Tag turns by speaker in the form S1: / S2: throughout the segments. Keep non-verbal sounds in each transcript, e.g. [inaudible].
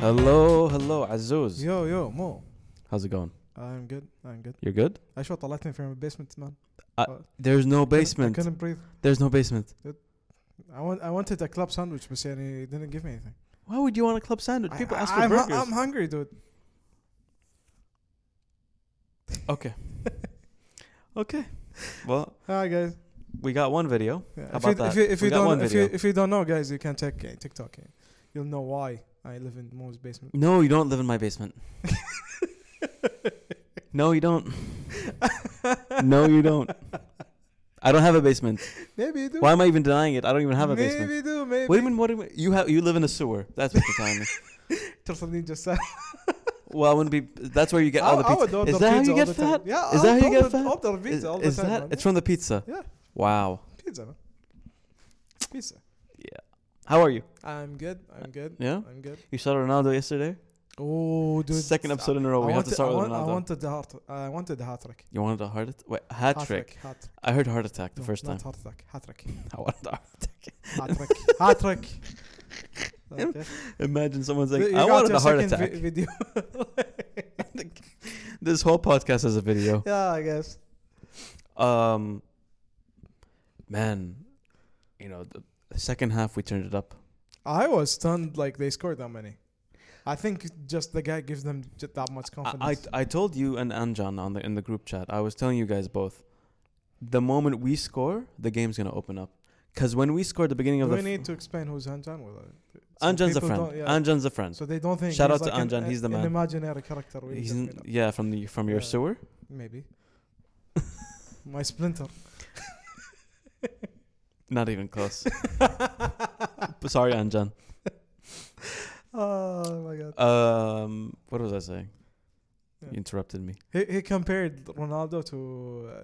S1: Hello, hello, Azuz.
S2: Yo, yo, Mo.
S1: How's it going?
S2: I'm good. I'm good.
S1: You're good?
S2: I shot طلعتني from a basement, man.
S1: There's no
S2: I
S1: basement.
S2: couldn't breathe.
S1: There's no basement.
S2: I want. I wanted a club sandwich, but يعني it didn't give me anything.
S1: Why would you want a club sandwich?
S2: I-
S1: People
S2: I,
S1: ask for
S2: I'm, hu-
S1: burgers.
S2: I'm hungry, dude.
S1: okay. [laughs] okay. Well,
S2: Hi guys.
S1: we got one video.
S2: Yeah,
S1: How
S2: if you,
S1: about that?
S2: If you, if
S1: We
S2: you
S1: got
S2: don't
S1: one
S2: if you
S1: video.
S2: if you don't know, guys, you can check uh, TikTok. yeah. You'll know why I live in Mo's basement.
S1: No, you don't live in my [laughs] basement. no, you don't. no, you don't. I don't have a [laughs] basement.
S2: Maybe you do.
S1: Why am I even denying it? I don't even have a
S2: maybe
S1: basement.
S2: you do. Maybe.
S1: What do you mean? What do you mean? You have you live in a sewer. That's what you're telling me.
S2: ترصدني جسام.
S1: Well, I wouldn't be. That's where you get all the
S2: I- I
S1: pizza.
S2: would order
S1: Is that how
S2: pizza
S1: you
S2: all
S1: get
S2: the time.
S1: fat?
S2: Yeah.
S1: Is that how
S2: I'll
S1: you get
S2: order-
S1: fat?
S2: Order pizza all the
S1: Is
S2: time.
S1: that?
S2: man.
S1: It's from the pizza.
S2: Yeah.
S1: Wow.
S2: Pizza. man. Pizza.
S1: How are you?
S2: I'm good. I'm good.
S1: Yeah?
S2: I'm good.
S1: You saw Ronaldo yesterday.
S2: Oh, dude.
S1: Second episode in a row.
S2: I
S1: we have
S2: wanted-
S1: to start
S2: I
S1: with
S2: want- I
S1: Ronaldo.
S2: wanted the heart. I wanted the hat trick.
S1: you wanted a heart attack? Wait, hat trick.
S2: Hat trick.
S1: I heard heart attack the
S2: No,
S1: first time.
S2: Not hat trick. Hat trick.
S1: [laughs] I wanted a heart attack.
S2: [laughs] Hat trick. Hat trick. Okay.
S1: [laughs] Imagine someone's like,
S2: You
S1: I
S2: got
S1: wanted
S2: your
S1: a heart
S2: second
S1: attack.
S2: vi- video.
S1: [laughs] this whole podcast is a video.
S2: yeah, I guess.
S1: Um, man, you know the, the second half we turned it up.
S2: I was stunned like they scored that many. I think just the guy gives them just that much
S1: I,
S2: confidence.
S1: I I told you and Anjan on the in the group chat. I was telling you guys both. The moment we score, the game's gonna open up. Cause when we scored the beginning of
S2: Do
S1: the
S2: we
S1: f-
S2: need to explain who's Anjan was? So
S1: Anjan's a
S2: people
S1: friend.
S2: don't- yeah.
S1: Anjan's a friend.
S2: so they don't think
S1: Shout
S2: he's
S1: out to
S2: like an-
S1: Anjan,
S2: a-
S1: he's the
S2: an
S1: man.
S2: imaginary character. we
S1: He's
S2: just
S1: in,
S2: made up.
S1: yeah from the from your
S2: Yeah.
S1: sewer.
S2: Maybe. [laughs] My splinter.
S1: [laughs] Not even
S2: [laughs]
S1: close. Sorry, Anjan.
S2: Oh my god.
S1: Um, what was I saying?
S2: Yeah.
S1: You interrupted me.
S2: He he compared Ronaldo to uh,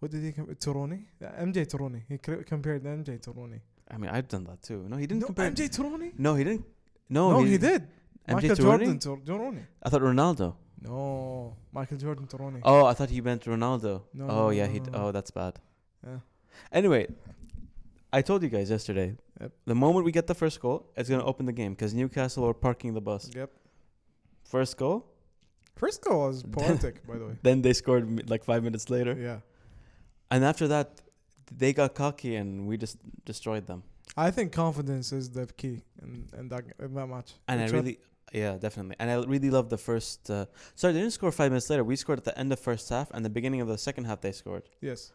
S2: what did he compare to Rooney? Uh, MJ to Rooney. He cr- compared MJ to Rooney.
S1: I mean, I've done that too. No, he didn't
S2: No,
S1: compare.
S2: MJ to Rooney?
S1: No, he didn't.
S2: No,
S1: No,
S2: he, did.
S1: MJ
S2: Michael
S1: to Rooney?
S2: Jordan to, to Rooney.
S1: I thought Ronaldo.
S2: No, Michael Jordan to Rooney.
S1: Oh, I thought he meant Ronaldo.
S2: No,
S1: oh
S2: no,
S1: yeah,
S2: no,
S1: he.
S2: no,
S1: D-
S2: no.
S1: oh, that's bad.
S2: Yeah.
S1: Anyway, I told you guys yesterday.
S2: Yep.
S1: The moment we get the first goal, it's gonna open the game because Newcastle are parking the bus.
S2: Yep.
S1: First goal,
S2: First
S1: [laughs]
S2: goal was poetic, by the way.
S1: then they scored m- like five minutes later,
S2: Yeah.
S1: and after that, they got cocky and we just destroyed them.
S2: I think confidence is the key in, in, that, in that match.
S1: And
S2: Which
S1: I
S2: one-
S1: really, yeah, definitely. And I really love the first. Uh, sorry, they didn't score five minutes later. We scored at the end of first half and the beginning of the second half. They scored.
S2: Yes.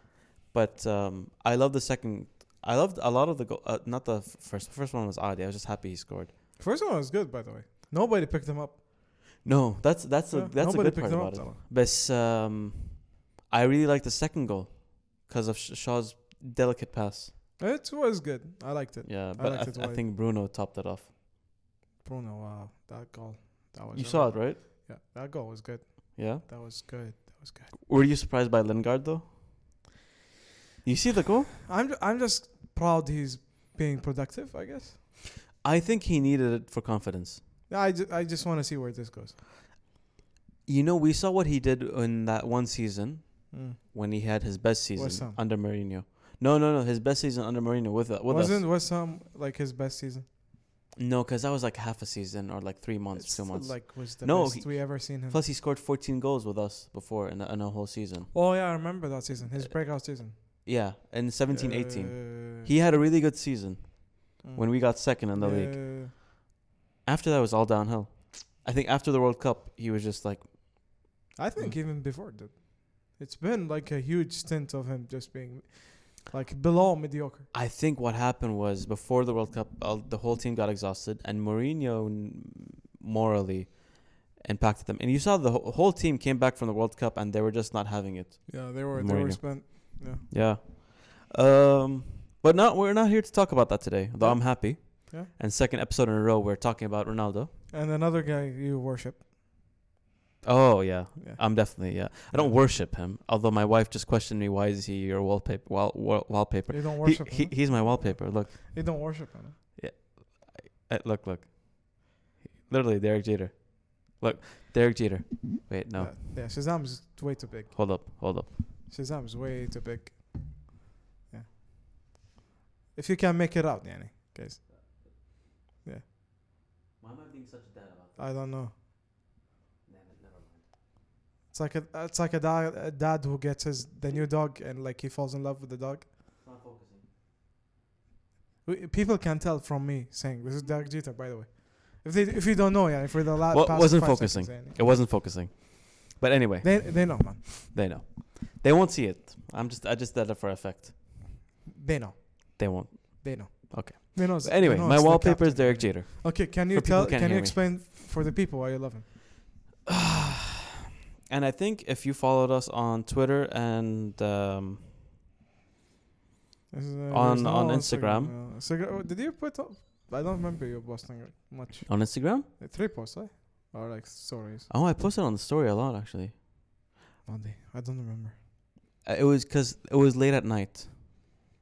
S1: But um, I love the second. I loved a lot of the goal. Uh, not the f- first. First one was Adi. I was just happy he scored.
S2: First one was good, by the way. Nobody picked him up.
S1: No, that's that's a
S2: Yeah,
S1: that's a
S2: Nobody
S1: good part about it.
S2: Salah.
S1: But um, I really like the second goal because of Sh- Shaw's delicate pass.
S2: It was good. I liked it.
S1: Yeah, but I,
S2: liked it
S1: th- I
S2: wide.
S1: think Bruno topped it off.
S2: Bruno, wow, that goal. That was
S1: You saw it, right?
S2: Yeah, that goal was good.
S1: Yeah.
S2: That was good. That was good.
S1: Were you surprised by Lingard though? You see the
S2: [sighs]
S1: goal?
S2: I'm ju- I'm just proud he's being productive. I guess.
S1: I think he needed it for confidence.
S2: Yeah, I, ju- I just want to see where this goes.
S1: You know, we saw what he did in that one season
S2: Mm.
S1: when he had his best
S2: West
S1: season
S2: Ham.
S1: under Mourinho. No, no, no, his best season under Mourinho with with
S2: Wasn't
S1: us.
S2: West Ham like his best season?
S1: No, because that was like half a season or like three months,
S2: It's
S1: two
S2: still,
S1: months.
S2: Like was the
S1: No,
S2: best
S1: he-
S2: we ever seen him.
S1: Plus, he scored 14 goals with us before in a, in a whole season.
S2: oh yeah, I remember that season. His breakout season.
S1: Yeah, in 17 18.
S2: Uh,
S1: He had a really good season
S2: mm.
S1: when we got second in the league.
S2: Yeah.
S1: After that, it was all downhill. I think after the World Cup, he was just like,
S2: I think
S1: Mm.
S2: even before that, it's been like a huge stint of him just being like below mediocre.
S1: I think what happened was before the World Cup, all, the whole team got exhausted, and Mourinho n- morally impacted them. And you saw the wh- whole team came back from the World Cup, and they were just not having it.
S2: Yeah, they were they were
S1: Mourinho.
S2: spent. Yeah.
S1: Yeah. Um, but not we're not here to talk about that today. Though
S2: Yeah.
S1: I'm happy.
S2: Yeah.
S1: And second episode in a row, we're talking about Ronaldo.
S2: And another guy you worship.
S1: Oh yeah,
S2: Yeah.
S1: I'm definitely yeah. I don't worship him, although my wife just questioned me, "Why is he your wallpaper? Wall, wall, wallpaper?
S2: You don't
S1: He-
S2: worship
S1: he-
S2: him.
S1: he's my wallpaper. Look,
S2: huh? You don't worship him. huh?
S1: Uh, look, look. Literally, Derek Jeter. Look, Derek Jeter. Wait, no.
S2: Yeah, yeah, Shazam's way too big.
S1: Hold up, hold up.
S2: Shazam's way too big. Yeah. If you can make it out, yani, guys.
S1: Why am I being such a dad about
S2: I don't know. It's like a it's like a dad, a dad who gets his the new dog and like he falls in love with the dog. We, people can tell from me saying this is Derek Jeter, by the way. If they if you don't know, yeah, if we're the last
S1: Well,
S2: past
S1: wasn't
S2: five
S1: focusing.
S2: seconds,
S1: It wasn't focusing. But anyway,
S2: yeah. They they know, man.
S1: they know. They won't see it. I'm just I just did it for effect.
S2: They know.
S1: They won't.
S2: They know.
S1: Okay.
S2: They know. it's-
S1: But anyway,
S2: they know
S1: my
S2: it's the
S1: wallpaper is
S2: captain.
S1: Derek Jeter.
S2: Okay, can you
S1: For people
S2: tell?
S1: who can't
S2: Can you
S1: hear me.
S2: explain for the people why you love him?
S1: and I think if you followed us on Twitter and um,
S2: This is, uh, there's
S1: On-
S2: no
S1: on Instagram.
S2: no. Instagram- oh, did you put? Up? I don't remember you posting much.
S1: on Instagram,
S2: Uh, Three posts, eh? Or like stories?
S1: oh, I posted on the story a lot actually.
S2: Monday. I don't remember.
S1: Uh, It was because it was late at night.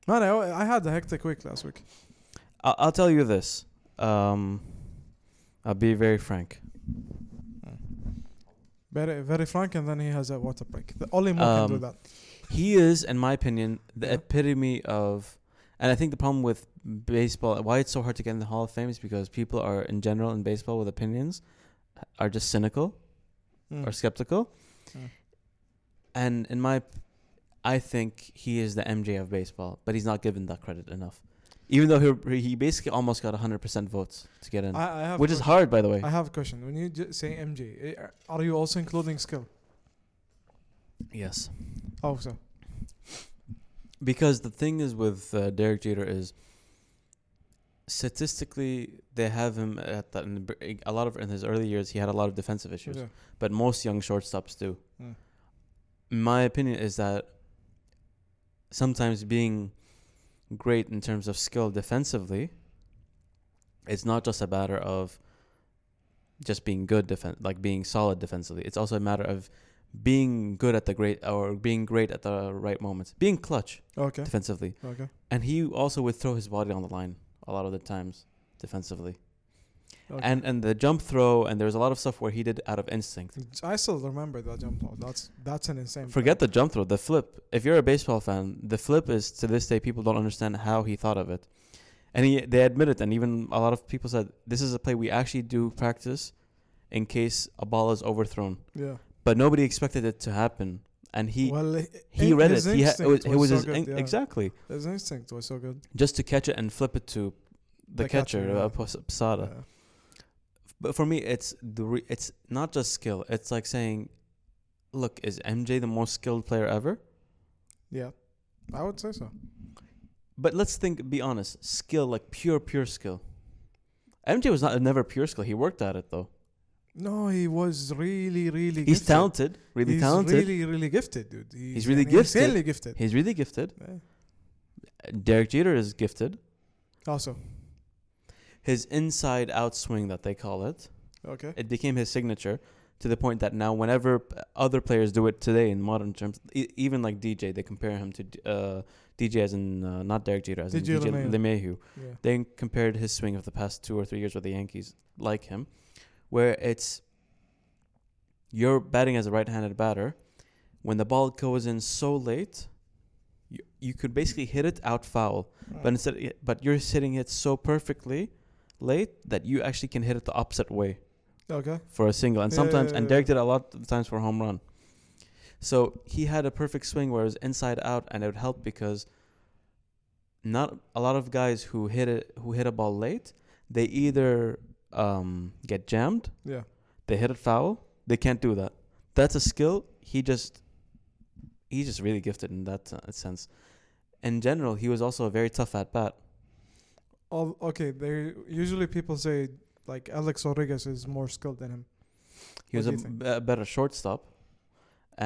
S2: Man, I, I had a hectic week last week.
S1: I'll, I'll tell you this. Um, I'll be very frank.
S2: Mm. Very, very frank, and then he has a water break. The only Mo can do
S1: Um,
S2: that.
S1: He is, in my opinion, the
S2: Yeah.
S1: epitome of, and I think the problem with baseball, why it's so hard to get in the Hall of Fame, is because people are in general in baseball with opinions, are just cynical
S2: Mm.
S1: or skeptical,
S2: Mm.
S1: and in my, I think he is the MJ of baseball, but he's not given that credit enough, even though he he basically almost got hundred percent votes to get in,
S2: I, I have
S1: which is
S2: question.
S1: hard, by the way.
S2: I have a question. When you ju- say MJ, eh, are you also including skill?
S1: yes.
S2: Oh, so
S1: Because the thing is with uh, Derek Jeter is statistically they have him at that in the, br- a lot of in his early years he had a lot of defensive issues,
S2: yeah.
S1: but most young shortstops do.
S2: Mm.
S1: My opinion is that sometimes being great in terms of skill defensively, it's not just a matter of just being good defen like being solid defensively. It's also a matter of being good at the great or being great at the right moments, being clutch
S2: Okay.
S1: defensively.
S2: Okay.
S1: And he also would throw his body on the line a lot of the times defensively.
S2: Okay.
S1: And and the jump throw and there was a lot of stuff where he did out of instinct.
S2: I still remember that jump ball. That's that's an insane.
S1: Forget the jump throw, the flip. If you're a baseball fan, the flip is to this day people don't understand how he thought of it. And he they admit it and even a lot of people said this is a play we actually do practice in case a ball is overthrown.
S2: Yeah.
S1: But nobody expected it to happen. And he
S2: well, i-
S1: he
S2: in-
S1: read it.
S2: his
S1: He had, it was,
S2: instinct
S1: it was
S2: so
S1: his
S2: good,
S1: in-
S2: yeah.
S1: exactly
S2: His instinct was so good.
S1: just to catch it and flip it to the,
S2: The catcher,
S1: catcher,
S2: yeah.
S1: uh, Pos- Posada.
S2: Yeah.
S1: But for me, it's the re- it's not just skill. It's like saying, "Look, is MJ the most skilled player ever?"
S2: Yeah, I would say so.
S1: But let's think. Be honest. Skill, like pure, pure skill. MJ was not never pure skill. He worked at it though.
S2: No, he was really, really.
S1: He's
S2: gifted.
S1: talented, really
S2: He's
S1: talented.
S2: Really, really gifted, dude. He's,
S1: really
S2: and he's
S1: gifted.
S2: Insanely gifted.
S1: He's really gifted.
S2: Yeah.
S1: Derek Jeter is gifted.
S2: Also,
S1: His inside out swing that they call it,
S2: okay.
S1: it became his signature to the point that now whenever p- other players do it today in modern terms e- even like DJ they compare him to D- uh, DJ as in uh, not Derek Jeter as
S2: DJ
S1: in DJ
S2: LeMahieu.
S1: LeMahieu.
S2: Yeah.
S1: They compared his swing of the past two or three years with the Yankees like him where it's you're batting as a right-handed batter when the ball goes in so late you, you could basically hit it out foul but
S2: Mm.
S1: instead but you're hitting it so perfectly late that you actually can hit it the opposite way
S2: okay.
S1: for a single, and sometimes
S2: Yeah.
S1: and Derek did a lot of times for a home run. So he had a perfect swing where it was inside out, and it would help because not a lot of guys who hit it who hit a ball late, they either um, get jammed,
S2: Yeah.
S1: they hit it foul, they can't do that. That's a skill. He just he's just really gifted in that uh, sense. In general, he was also a very tough at bat.
S2: All, okay. They usually people say like Alex Rodriguez is more skilled than him.
S1: He
S2: What
S1: was
S2: do
S1: a
S2: you think?
S1: b- a better shortstop,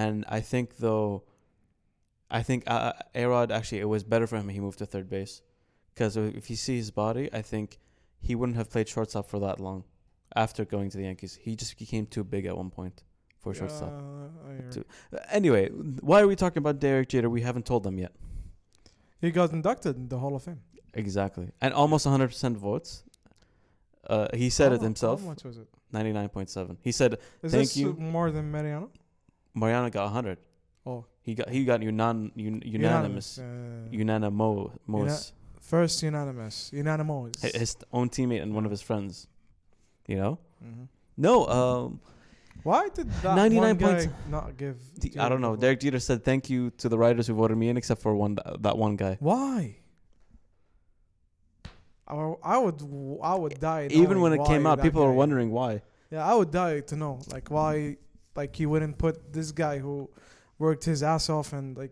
S1: and I think though, I think uh, Arod actually it was better for him he moved to third base, because if you see his body, I think he wouldn't have played shortstop for that long. After going to the Yankees, he just became too big at one point for shortstop.
S2: Uh, I hear
S1: Two.
S2: you.
S1: Anyway, why are we talking about Derek Jeter? We haven't told them yet.
S2: he got inducted in the Hall of Fame.
S1: Exactly, and almost 100% votes. Uh, he said
S2: How
S1: it
S2: mu-
S1: himself,
S2: How much was it?
S1: 99.7. He said
S2: Is
S1: Thank
S2: this
S1: you.
S2: more than Mariano?
S1: Mariano got 100.
S2: Oh,
S1: He got he got unan, un, unanimous
S2: Unanimous. Uh,
S1: unanimous
S2: first unanimous. Unanimous.
S1: Hi- his own teammate and one of his friends. You know
S2: Mhm.
S1: No, um,
S2: Why did that
S1: 99
S2: one guy
S1: points.
S2: not give?
S1: the-
S2: Jimmy
S1: I don't know.
S2: Butler?
S1: Derek Jeter said thank you to the writers who voted me in, except for one that one guy.
S2: Why? I, w- I would w- I would die.
S1: Even
S2: knowing
S1: when it came
S2: why
S1: out,
S2: that
S1: people were
S2: guy-
S1: wondering why.
S2: Yeah, I would die to know like why like he wouldn't put this guy who worked his ass off and like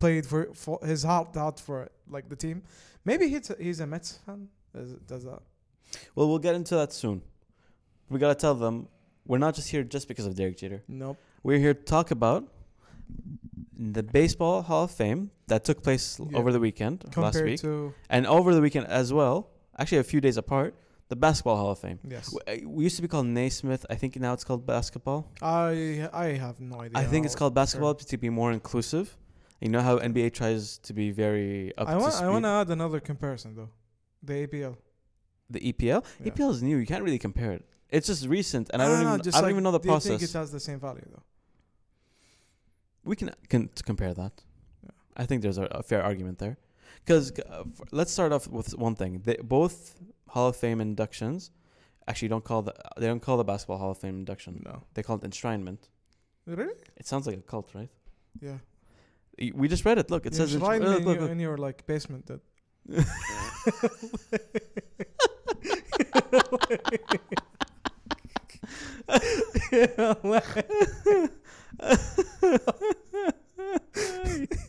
S2: played for, for his heart out for like the team. Maybe he's a, he's a Mets fan. Does, does that?
S1: Well, we'll get into that soon. We gotta tell them we're not just here just because of Derek Jeter.
S2: Nope.
S1: We're here to talk about the Baseball Hall of Fame that took place l-
S2: Yeah.
S1: over the weekend last
S2: Compared
S1: week,
S2: to
S1: and over the weekend as well, actually a few days apart, the Basketball Hall of Fame.
S2: yes,
S1: W- uh, We used to be called Naismith. I think now it's called basketball.
S2: I I have no idea.
S1: I think it's
S2: how-
S1: called basketball to be more inclusive. You know how NBA tries to be very up
S2: I
S1: to
S2: want
S1: speed.
S2: I want to add another comparison though, the APL.
S1: the E EPL.
S2: Yeah.
S1: EPL is new. You can't really compare it. It's just recent, and I don't
S2: No, no,
S1: even
S2: no, Ah, just
S1: I don't
S2: like,
S1: even know the
S2: do You think
S1: process.
S2: it has the same value though?
S1: We can, can to compare that.
S2: Yeah.
S1: I think there's a, a fair argument there, because uh, f- let's start off with one thing. They, both Hall of Fame inductions actually don't call the they don't call the basketball Hall of Fame induction.
S2: No.
S1: They call it enshrinement.
S2: Really?
S1: It sounds like a cult, right?
S2: Yeah.
S1: Y- We just read it. Look, it
S2: Yeah,
S1: says
S2: it's
S1: ensh-
S2: lying
S1: look,
S2: in,
S1: look,
S2: your,
S1: look.
S2: in your like basement. That [laughs]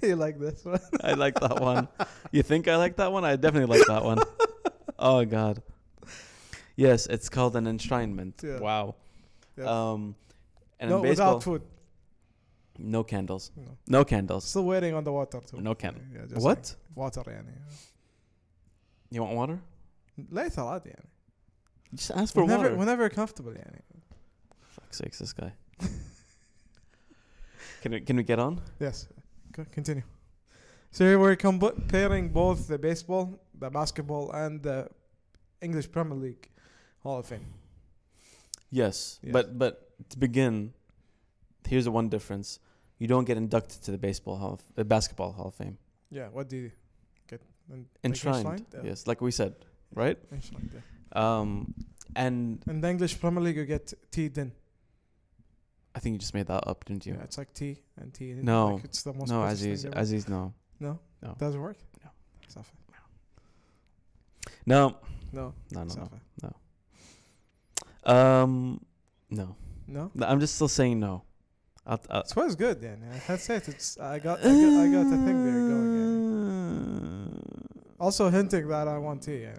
S2: you like this one?
S1: I like that one. You think I like that one? I definitely like that
S2: [laughs]
S1: one. Oh God. Yes, it's called an enshrinement.
S2: Yeah.
S1: Wow.
S2: Yeah.
S1: Um, and
S2: no,
S1: in baseball,
S2: without food.
S1: no candles,
S2: No.
S1: no candles,
S2: Still waiting on the water too.
S1: no candles.
S2: Yeah, just
S1: What?
S2: Like water, يعني.
S1: You want water?
S2: ليس عادي يعني.
S1: Just ask for
S2: Whenever,
S1: water.
S2: whenever comfortable يعني.
S1: Fuck's sakes, this guy. can we can we get on?
S2: Yes. Co- Continue. So we were comparing both the baseball, the basketball, and the English Premier League Hall of Fame.
S1: Yes,
S2: Yes.
S1: but but to begin, here's the one difference: you don't get inducted to the baseball hall, of, the basketball hall of fame.
S2: Yeah. What do you get? And- like
S1: Enshrined,
S2: Yeah.
S1: yes, like we said, right?
S2: Enshrined, yeah.
S1: Um, and
S2: And the English Premier League, you get T then.
S1: I think you just made that up, didn't you?
S2: Yeah, it's like T and T. and
S1: No.
S2: like it's the most
S1: no,
S2: British thing
S1: Aziz,
S2: ever.
S1: Aziz, no,
S2: No,
S1: No.
S2: doesn't work.
S1: No.
S2: it's not fair.
S1: no,
S2: No,
S1: no,
S2: it's
S1: no,
S2: not fair.
S1: no. Um, no,
S2: No,
S1: No, I'm just still saying no. I'll, I'll,
S2: it's was good. Yeah, I had said it's. I got,
S1: [sighs]
S2: I got, I got the thing there going. Yeah. Also hinting that I want T. Yeah.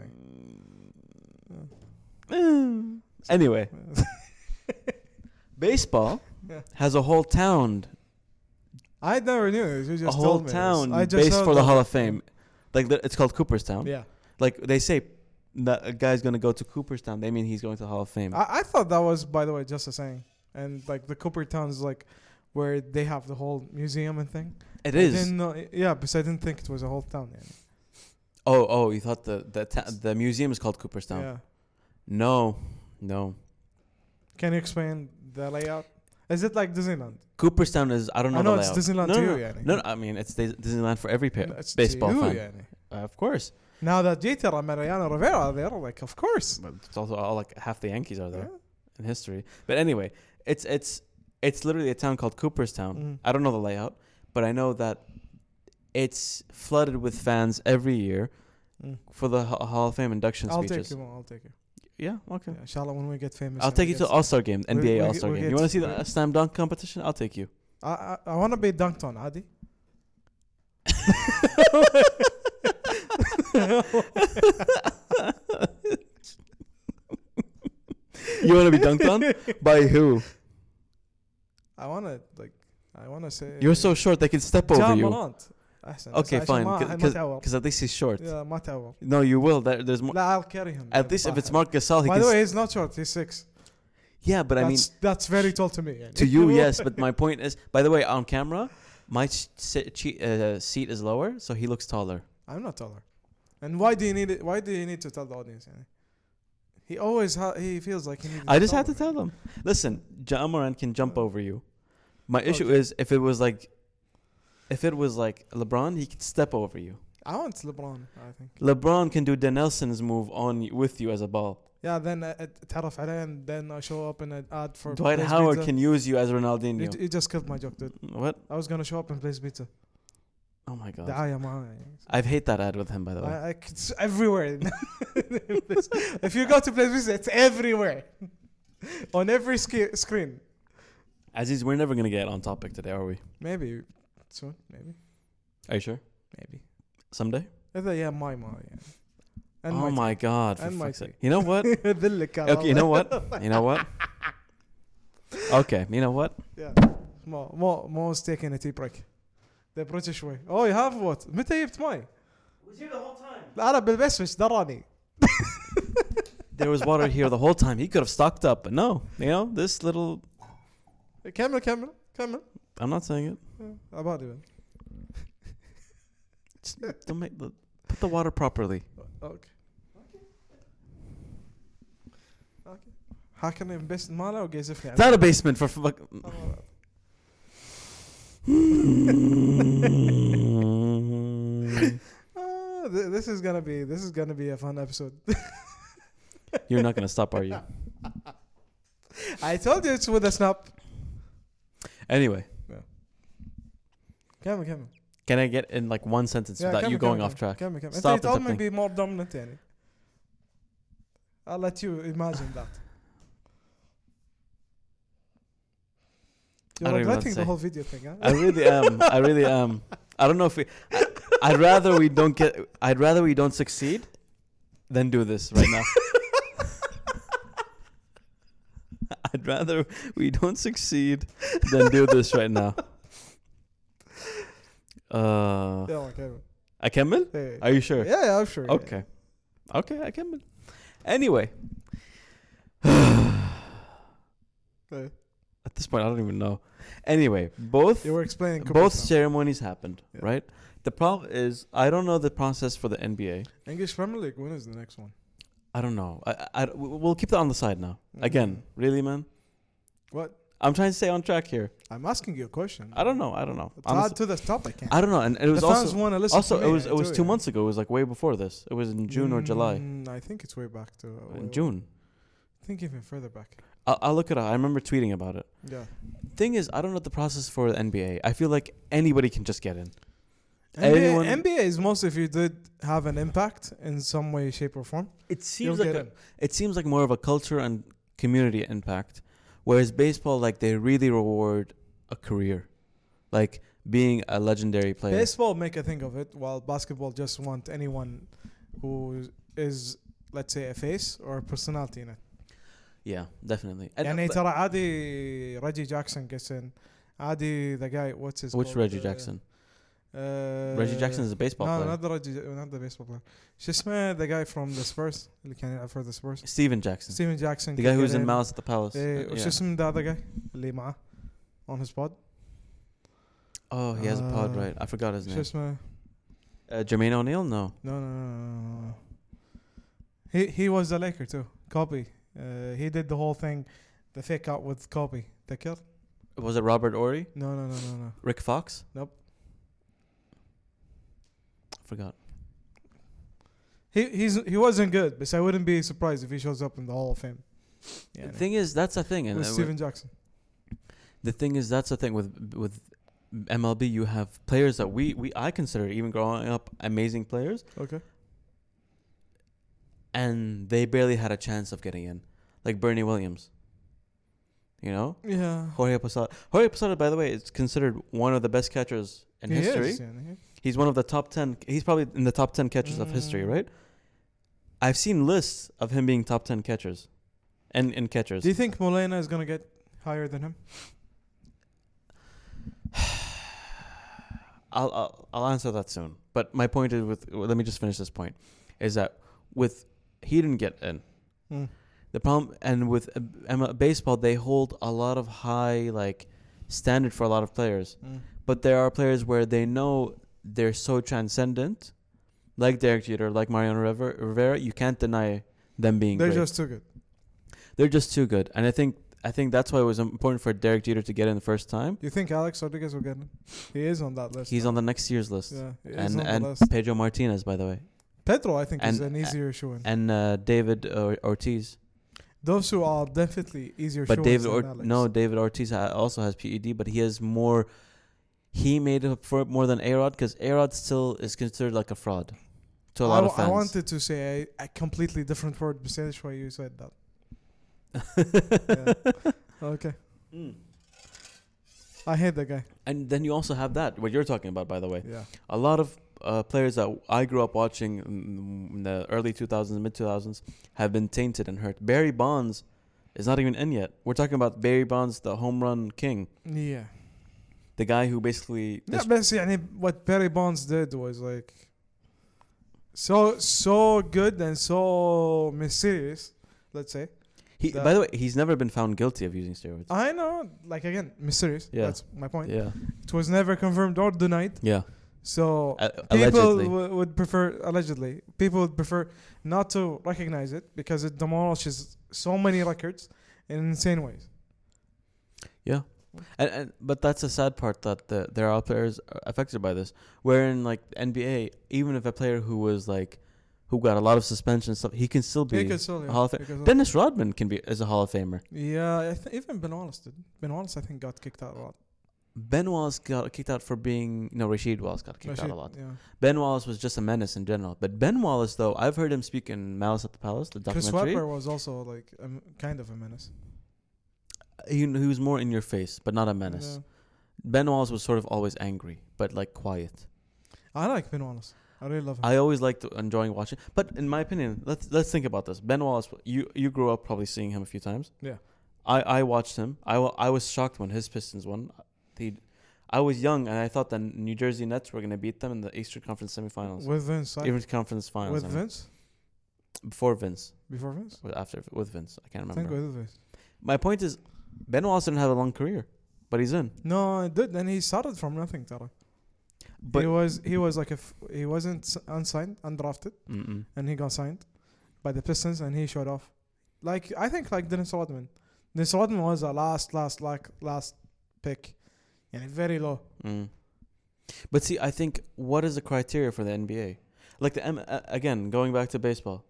S1: Anyway, baseball
S2: Yeah.
S1: has a whole town,
S2: [laughs] I never knew this. You
S1: a
S2: just
S1: whole
S2: told me
S1: town
S2: This. I just
S1: based
S2: heard
S1: for the
S2: that.
S1: Hall of Fame. Like the, it's called Cooperstown.
S2: Yeah,
S1: Like they say that a guy's gonna go to Cooperstown, they mean he's going to the Hall of Fame.
S2: I, I thought that was, by the way, just a saying. And like the Cooper Town is like where they have the whole museum and thing.
S1: it
S2: I
S1: is.
S2: didn't know, yeah, because I didn't think it was a whole town. Yeah.
S1: Oh, oh, you thought the the ta- the museum is called Cooperstown?
S2: yeah.
S1: No, no.
S2: Can you explain the layout? Is it like Disneyland?
S1: Cooperstown is I don't know.
S2: I know
S1: the
S2: it's
S1: layout.
S2: Disneyland
S1: no,
S2: to
S1: no,
S2: you, yani.
S1: No, no, I mean it's Dis- Disneyland for every pa-
S2: No, it's to
S1: baseball
S2: you,
S1: fan.
S2: yani.
S1: Uh, of course,
S2: Now that Jeter and Mariano Rivera are there, like, of course.
S1: but it's also all like half the Yankees are there
S2: Yeah.
S1: in history. But anyway, it's it's it's literally a town called Cooperstown.
S2: Mhm.
S1: I don't know the layout, but I know that it's flooded with fans every year
S2: Mm.
S1: for the Ho- Hall of Fame induction
S2: I'll
S1: speeches.
S2: take you. I'll take you.
S1: Yeah, okay.
S2: Yeah, Inshallah, when we get famous.
S1: I'll
S2: and we
S1: take you to
S2: get-
S1: the All Star game, the
S2: we-
S1: NBA
S2: we-
S1: All Star
S2: we
S1: game.
S2: get-
S1: you want to see
S2: we-
S1: the uh, slam dunk competition? I'll take
S2: [laughs]
S1: you.
S2: I I, I want to be dunked on, Adi.
S1: You want to be dunked on by who?
S2: I want to like. I want to say.
S1: You're so short they can step
S2: Ja
S1: over you.
S2: Morant. أحسن.
S1: Okay,
S2: بس عشان
S1: fine.
S2: ما- ما تعور.
S1: Because at least he's short.
S2: Yeah, ما تعور.
S1: No, you will. There, there's more.
S2: لا, I'll carry him. uh,
S1: At least if it's Mark Gasol, he
S2: By
S1: can.
S2: the
S1: s-
S2: way, he's not short. He's six.
S1: yeah, but I mean,
S2: that's, that's very tall to me. يعني.
S1: to
S2: [laughs]
S1: you, yes. But my point is, by the way, on camera, my ch- se- che- uh, seat is lower, so he looks taller.
S2: I'm not taller. And why do you need it? Why do you need to tell the audience? يعني? He always ha- he feels like he needs.
S1: I just had to tell them. Listen, Ja Morant can jump over you. My
S2: Oh,
S1: issue is if it was like, if it was like LeBron, he could step over you.
S2: I want LeBron. I think.
S1: LeBron can do Denelson's move on you, with you as a ball.
S2: Yeah, then uh, I- I- تعرف عليه and then I show up in an ad for
S1: Dwight
S2: Blaze
S1: Howard
S2: Pizza.
S1: can use you as
S2: You,
S1: Ronaldinho.
S2: you just killed my joke, dude.
S1: what?
S2: I was gonna show up and place pizza.
S1: Oh my god.
S2: دعاية معاه يعني.
S1: I hate that ad with him by the way.
S2: I, I, it's everywhere. [laughs] if you go to place pizza, it's everywhere. [laughs] On every ski- screen.
S1: Aziz, we're never gonna get on topic today, are we?
S2: Maybe soon, maybe,
S1: Are you sure?
S2: maybe.
S1: Someday?
S2: هذا يا ماي ماي يعني. And
S1: oh
S2: my
S1: my god. For
S2: And my
S1: fuck's sake.
S2: tea.
S1: You know what?
S2: [laughs] ذلك على
S1: okay, you know
S2: الله.
S1: what? You know what? Okay, you know what?
S2: Yeah. Mo Mo Mo's taking a tea break. The British way. Oh, you have what? متى جبت ماي؟ انا بالبسبس دراني.
S1: There was water here the whole time. He could have stocked up, but no. You know, this little
S2: كمل كمل كمل.
S1: I'm not saying it.
S2: عبالي
S1: Don't make the put the water properly.
S2: اوكي. اوكي. حاكم البس ماله وقيزفني
S1: It's not a basement for fuck. You're
S2: Ah, th- This is gonna be this is gonna be a fun episode.
S1: not gonna stop, are you?
S2: I told you it's with a snap.
S1: Anyway,
S2: كمل كمل.
S1: can I get in like one sentence
S2: Yeah,
S1: without
S2: كمل
S1: you
S2: كمل
S1: going
S2: كمل.
S1: off track?
S2: كمل كمل.
S1: Stop
S2: انت you told me
S1: interrupting.
S2: be more dominant يعني. I'll let you imagine that.
S1: I don't even know
S2: You're
S1: what to
S2: regretting
S1: say.
S2: the whole video thing, huh?
S1: I really am. I really am. I don't know if we. I, I'd rather we don't get. I'd rather we don't succeed, than do this right now. [laughs] I'd rather we don't succeed than do this right now. Uh,
S2: يلا كمل.
S1: I كمل?
S2: Hey.
S1: Are you sure?
S2: Yeah, yeah, I'm sure. yeah.
S1: Okay. Okay, I كمل. Anyway. [sighs]
S2: Hey.
S1: At this point, I don't even know. Anyway, both
S2: You were explaining
S1: both
S2: Cooperstown.
S1: ceremonies happened,
S2: Yeah.
S1: right? The problem is I don't know the process for the NBA.
S2: English Premier League. When is the next one?
S1: I don't know. I, I- I w- we'll keep that on the side now. Again, really, man.
S2: What?
S1: I'm trying to stay on track here.
S2: I'm asking you a question.
S1: I don't know. I don't know.
S2: It's
S1: Honest-
S2: add to the topic. yeah.
S1: I don't know. And it was
S2: the fans
S1: also
S2: want to listen.
S1: also
S2: to
S1: it
S2: me,
S1: was
S2: I
S1: it was
S2: do,
S1: two
S2: yeah.
S1: months ago. It was like way before this. It was in June or July.
S2: Mm, I think it's way back to uh,
S1: In June.
S2: I think even further back.
S1: I'll, I'll look it up. I remember tweeting about it.
S2: Yeah.
S1: Thing is, I don't know the process for the NBA. I feel like anybody can just get in.
S2: NBA,
S1: Anyone-
S2: NBA is mostly if you did have an impact in some way, shape, or form.
S1: It
S2: You'll
S1: seems
S2: get
S1: like
S2: in.
S1: a, it seems like more of a culture and community impact, whereas baseball, like they really reward a career, like being a legendary player.
S2: Baseball make a thing of it, while basketball just want anyone who is, let's say, a face or a personality in it.
S1: yeah, definitely. And- uh,
S2: يعني
S1: but-
S2: ترى عادي Reggie Jackson gets in. عادي the guy, what's his
S1: which
S2: called?
S1: Reggie
S2: Uh,
S1: Jackson?
S2: Uh,
S1: Reggie Jackson is a baseball
S2: No,
S1: player.
S2: not the Reggie, uh, not the baseball player. شو اسمه the guy from the Spurs اللي كان يلعب for the Spurs.
S1: Steven Jackson,
S2: Steven Jackson.
S1: the
S2: can
S1: guy who
S2: get
S1: was in Malice at the Palace.
S2: إيه،
S1: Uh,
S2: وش
S1: yeah.
S2: اسم the other guy اللي معاه on his pod?
S1: Oh, he has a pod,
S2: Uh,
S1: right? I forgot his
S2: شو
S1: name.
S2: اسمه؟
S1: Uh, Jermaine O'Neal? No.
S2: No, no, no, no, no, no. He he was a Laker too. Kobe. Uh, he did the whole thing, the fake out with Kobe. The kill?
S1: Was it Robert Ory?
S2: No, no, no, no, no.
S1: Rick Fox?
S2: Nope.
S1: I forgot.
S2: He he's he wasn't good, but I wouldn't be surprised if he shows up in the Hall of Fame. Yeah.
S1: the thing is, that's a thing. And
S2: with
S1: uh,
S2: Steven Jackson.
S1: the thing is that's the thing with with MLB you have players that we we I consider even growing up amazing players
S2: Okay.
S1: and they barely had a chance of getting in like Bernie Williams you know
S2: Yeah.
S1: Jorge Posada Jorge Posada by the way is considered one of the best catchers in
S2: He is,
S1: history
S2: يعني.
S1: he's one of the top 10 he's probably in the top 10 catchers of history
S2: Mm.
S1: right I've seen lists of him being top 10 catchers and in catchers
S2: Do you think Molina is gonna get higher than him?
S1: I'll, I'll I'll answer that soon. But my point is with well, let me just finish this point, is that with he didn't get in
S2: Mm.
S1: the problem, and with uh, M- baseball they hold a lot of high like standard for a lot of players.
S2: Mm.
S1: But there are players where they know they're so transcendent, like Derek Jeter, like Mariano River, Rivera. You can't deny them being.
S2: They're
S1: great.
S2: just too good.
S1: they're just too good, and I think I think that's why it was important for Derek Jeter to get in the first time.
S2: You think Alex Rodriguez will get him? He is on that list.
S1: He's on the next year's list,
S2: yeah, he is
S1: and
S2: on the
S1: and
S2: list.
S1: Pedro Martinez, by the way.
S2: Pedro, I think, is
S1: And-
S2: an easier shoe in.
S1: and uh, David uh, Ortiz.
S2: Those two are definitely easier
S1: But
S2: shoe-ins
S1: David
S2: than
S1: or-
S2: Alex.
S1: no, David Ortiz ha- also has PED, but he has more. He made up for it more than Arod because Arod still is considered like a fraud to a lot
S2: I,
S1: of fans.
S2: I wanted to say a, a completely different word besides why you said
S1: [laughs]
S2: that. Okay.
S1: Mm.
S2: I hate that guy.
S1: And then you also have that what you're talking about, by the way.
S2: Yeah.
S1: a lot of uh, players that I grew up watching in in the early 2000s, mid 2000s, have been tainted and hurt. Barry Bonds is not even in yet. We're talking about Barry Bonds, the home run king,
S2: Yeah.
S1: the guy who basically.
S2: Yeah, but see, I mean, what Barry Bonds did was like so so good and so mysterious. Let's say
S1: he,
S2: the-
S1: by the way, he's never been found guilty of using steroids.
S2: I know, like again, mysterious.
S1: Yeah.
S2: That's my point.
S1: yeah,
S2: It was never confirmed or denied.
S1: yeah.
S2: So
S1: A-
S2: people
S1: allegedly,
S2: w- would prefer allegedly people would prefer not to recognize it because it demolishes so many records in insane ways.
S1: and, and but that's the sad part that the, there are players uh, affected by this. Where in like NBA, even if a player who was like, who got a lot of suspension and stuff, he can still be.
S2: He could sell, yeah.
S1: Hall of
S2: He
S1: Fa-
S2: could sell.
S1: Dennis Rodman can be is a Hall of Famer.
S2: yeah, I th- even Ben Wallace did. Ben Wallace, I think, got kicked out a lot.
S1: Ben Wallace got kicked out for being no Rashid Wallace got kicked out a
S2: Rashid,
S1: lot.
S2: Yeah.
S1: Ben Wallace was just a menace in general. But Ben Wallace though, I've heard him speak in Malice at the Palace, the
S2: Chris
S1: documentary.
S2: Webber was also like a m kind of a menace.
S1: He, he was more in your face, but not a menace.
S2: Yeah.
S1: Ben Wallace was sort of always angry, but like quiet.
S2: I like Ben Wallace. I really love him.
S1: I always liked enjoying watching. But in my opinion, let's let's think about this. Ben Wallace, you you grew up probably seeing him a few times.
S2: Yeah.
S1: I I watched him. I wa- I was shocked when his Pistons won. He, I was young and I thought the New Jersey Nets were going to beat them in the Eastern Conference semifinals.
S2: with Vince. I-
S1: Even conference finals.
S2: with
S1: I mean.
S2: Vince?
S1: before Vince,
S2: Before Vince?
S1: with after with Vince. I can't
S2: I think
S1: remember.
S2: with Vince.
S1: My point is, Ben Wallace didn't have a long career, but he's in.
S2: No, I did. And he started from nothing, Tara.
S1: But
S2: he was he was like a f- he wasn't s- unsigned, undrafted,
S1: Mm-mm.
S2: and he got signed by the Pistons, and he showed off. Like I think like Dennis Rodman. Dennis Rodman was a last last like last pick, and very low.
S1: Mm. but see, I think what is the criteria for the NBA? Like the M- uh, again, going back to baseball,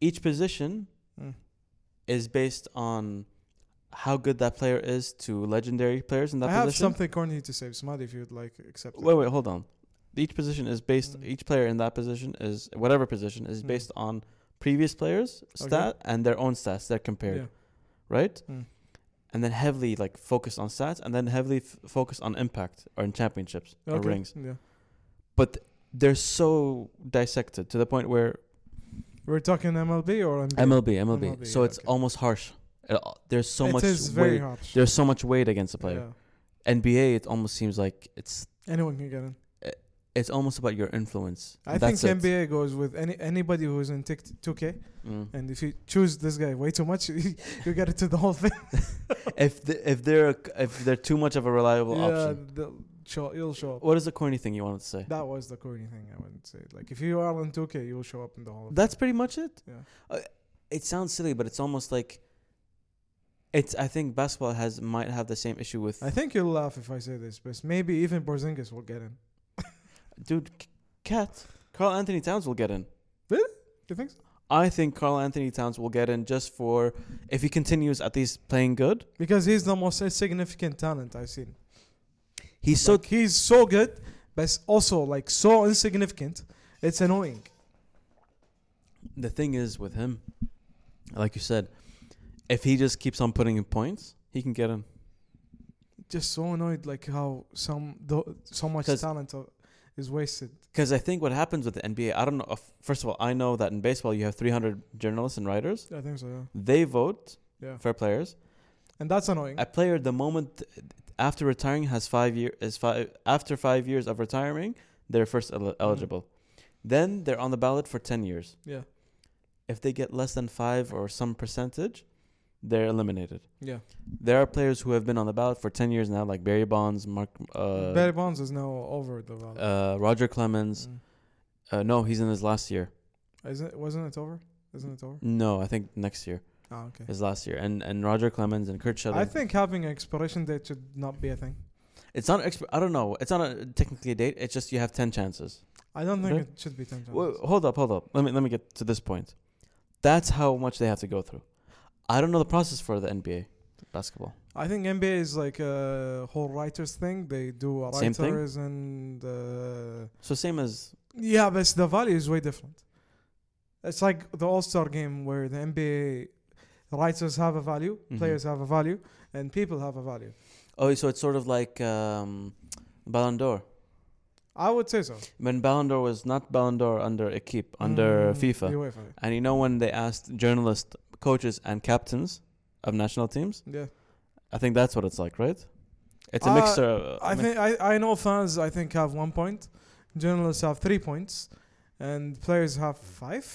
S1: each position
S2: Mm.
S1: is based on how good that player is to legendary players in that
S2: I
S1: position.
S2: have something corny to say, Smad, if you'd like accept. it.
S1: Wait, wait, hold on. Each position is based.
S2: Mm.
S1: Each player in that position is whatever position is
S2: Mm.
S1: based on previous players'
S2: Okay.
S1: stat and their own stats. They're compared,
S2: Yeah.
S1: right?
S2: Mm.
S1: And then heavily like focused on stats, and then heavily f- focused on impact or in championships or
S2: Okay.
S1: rings.
S2: Yeah.
S1: But they're so dissected to the point where
S2: We're talking MLB or NBA?
S1: MLB, MLB.
S2: MLB,
S1: so
S2: yeah,
S1: it's
S2: okay.
S1: almost harsh. Uh, there's so
S2: It
S1: much
S2: is very
S1: weight.
S2: harsh.
S1: There's so much weight against a player.
S2: Yeah.
S1: NBA, it almost seems like it's
S2: Anyone can get in.
S1: it's almost about your influence.
S2: I
S1: That's
S2: think
S1: it.
S2: NBA goes with any anybody who's in tick 2K, [laughs]
S1: Mm.
S2: and if you choose this guy way too much, [laughs] you get into the whole thing.
S1: if the, if they're if they're too much of a reliable
S2: yeah,
S1: option.
S2: they'll show, you'll show up.
S1: What is the corny thing you wanted to say?
S2: That was the corny thing I would say. Like if you are in 2K, you'll show up in the whole.
S1: That's pretty much it.
S2: Yeah.
S1: Uh, it sounds silly, but it's almost like it's. I think basketball has might have the same issue with
S2: I think you'll laugh if I say this, but maybe even Porzingis will get in.
S1: dude, cat. Carl Anthony Towns will get in.
S2: You think so?
S1: I think Carl Anthony Towns will get in just for if he continues at least playing good.
S2: Because he's the most significant talent I've seen.
S1: He's so
S2: like, he's so good, but also like so insignificant. It's annoying.
S1: the thing is with him, like you said, if he just keeps on putting in points, he can get in.
S2: just so annoyed like how some tho- so much
S1: 'Cause-
S2: talent o- is wasted.
S1: Because I think what happens with the NBA, I don't know. If, first of all, I know that in baseball you have 300 journalists and writers.
S2: I think so, yeah.
S1: They vote
S2: Yeah.
S1: for players.
S2: And that's annoying.
S1: A player, the moment after retiring, has five year is five after five years of retiring, they're first el- eligible. Then they're on the ballot for 10 years.
S2: Mm-hmm. Yeah.
S1: If they get less than five or some percentage, they're eliminated.
S2: yeah.
S1: There are players who have been on the ballot for 10 years now, like Barry Bonds, Mark, uh,
S2: Barry Bonds is now over the ballot.
S1: uh, Roger Clemens.
S2: Mm.
S1: Uh, no, he's in his last year.
S2: Isn't it, wasn't it over? Isn't it over?
S1: No, I think next year.
S2: Ah, okay.
S1: is last year, and and Roger Clemens and Kurt Schilling.
S2: I think having an expiration date should not be a thing.
S1: it's not. Exp- I don't know. It's not a, technically a date. It's just you have ten chances.
S2: I don't think
S1: Okay.
S2: it should be ten times.
S1: Wait, hold up, hold up. Let me let me get to this point. That's how much they have to go through. I don't know the process for the NBA basketball.
S2: I think NBA is like a whole writers thing. They do a
S1: Same thing?
S2: writers and uh,
S1: So same as
S2: yeah, but the value is way different. It's like the All Star game where the NBA writers have a value,
S1: Mhm.
S2: players have a value, and people have a value.
S1: oh, so it's sort of like um, Ballon d'Or.
S2: I would say so.
S1: When Ballon d'Or was not Ballon d'Or under Equipe, under
S2: Mm,
S1: FIFA.
S2: UEFA.
S1: And you know when they asked journalists, coaches, and captains of national teams,
S2: Yeah,
S1: I think that's what it's like, right? It's a
S2: Uh,
S1: mixture. Of,
S2: I think I, I know fans. I think have one point, journalists have three points, and players have five.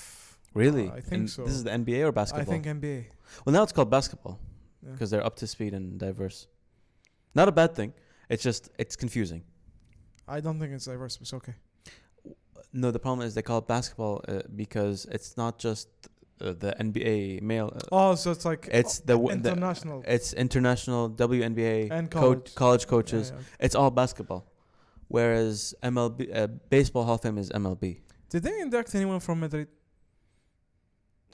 S1: really.
S2: I think
S1: And
S2: so.
S1: This is the NBA or basketball.
S2: I think NBA.
S1: Well, now it's called basketball
S2: Yeah.
S1: because they're up to speed and diverse. Not a bad thing. It's just it's confusing.
S2: I don't think it's diverse. But it's
S1: Uh,
S2: okay.
S1: No, the problem is they call it basketball uh, because it's not just uh, the NBA male. Uh,
S2: Oh, so it's like
S1: it's the, w- the
S2: international
S1: it's international WNBA
S2: and
S1: coach
S2: college.
S1: college
S2: Yeah,
S1: coaches.
S2: yeah.
S1: It's all basketball. Whereas MLB uh, baseball Hall of Fame is MLB.
S2: Did they induct anyone from Madrid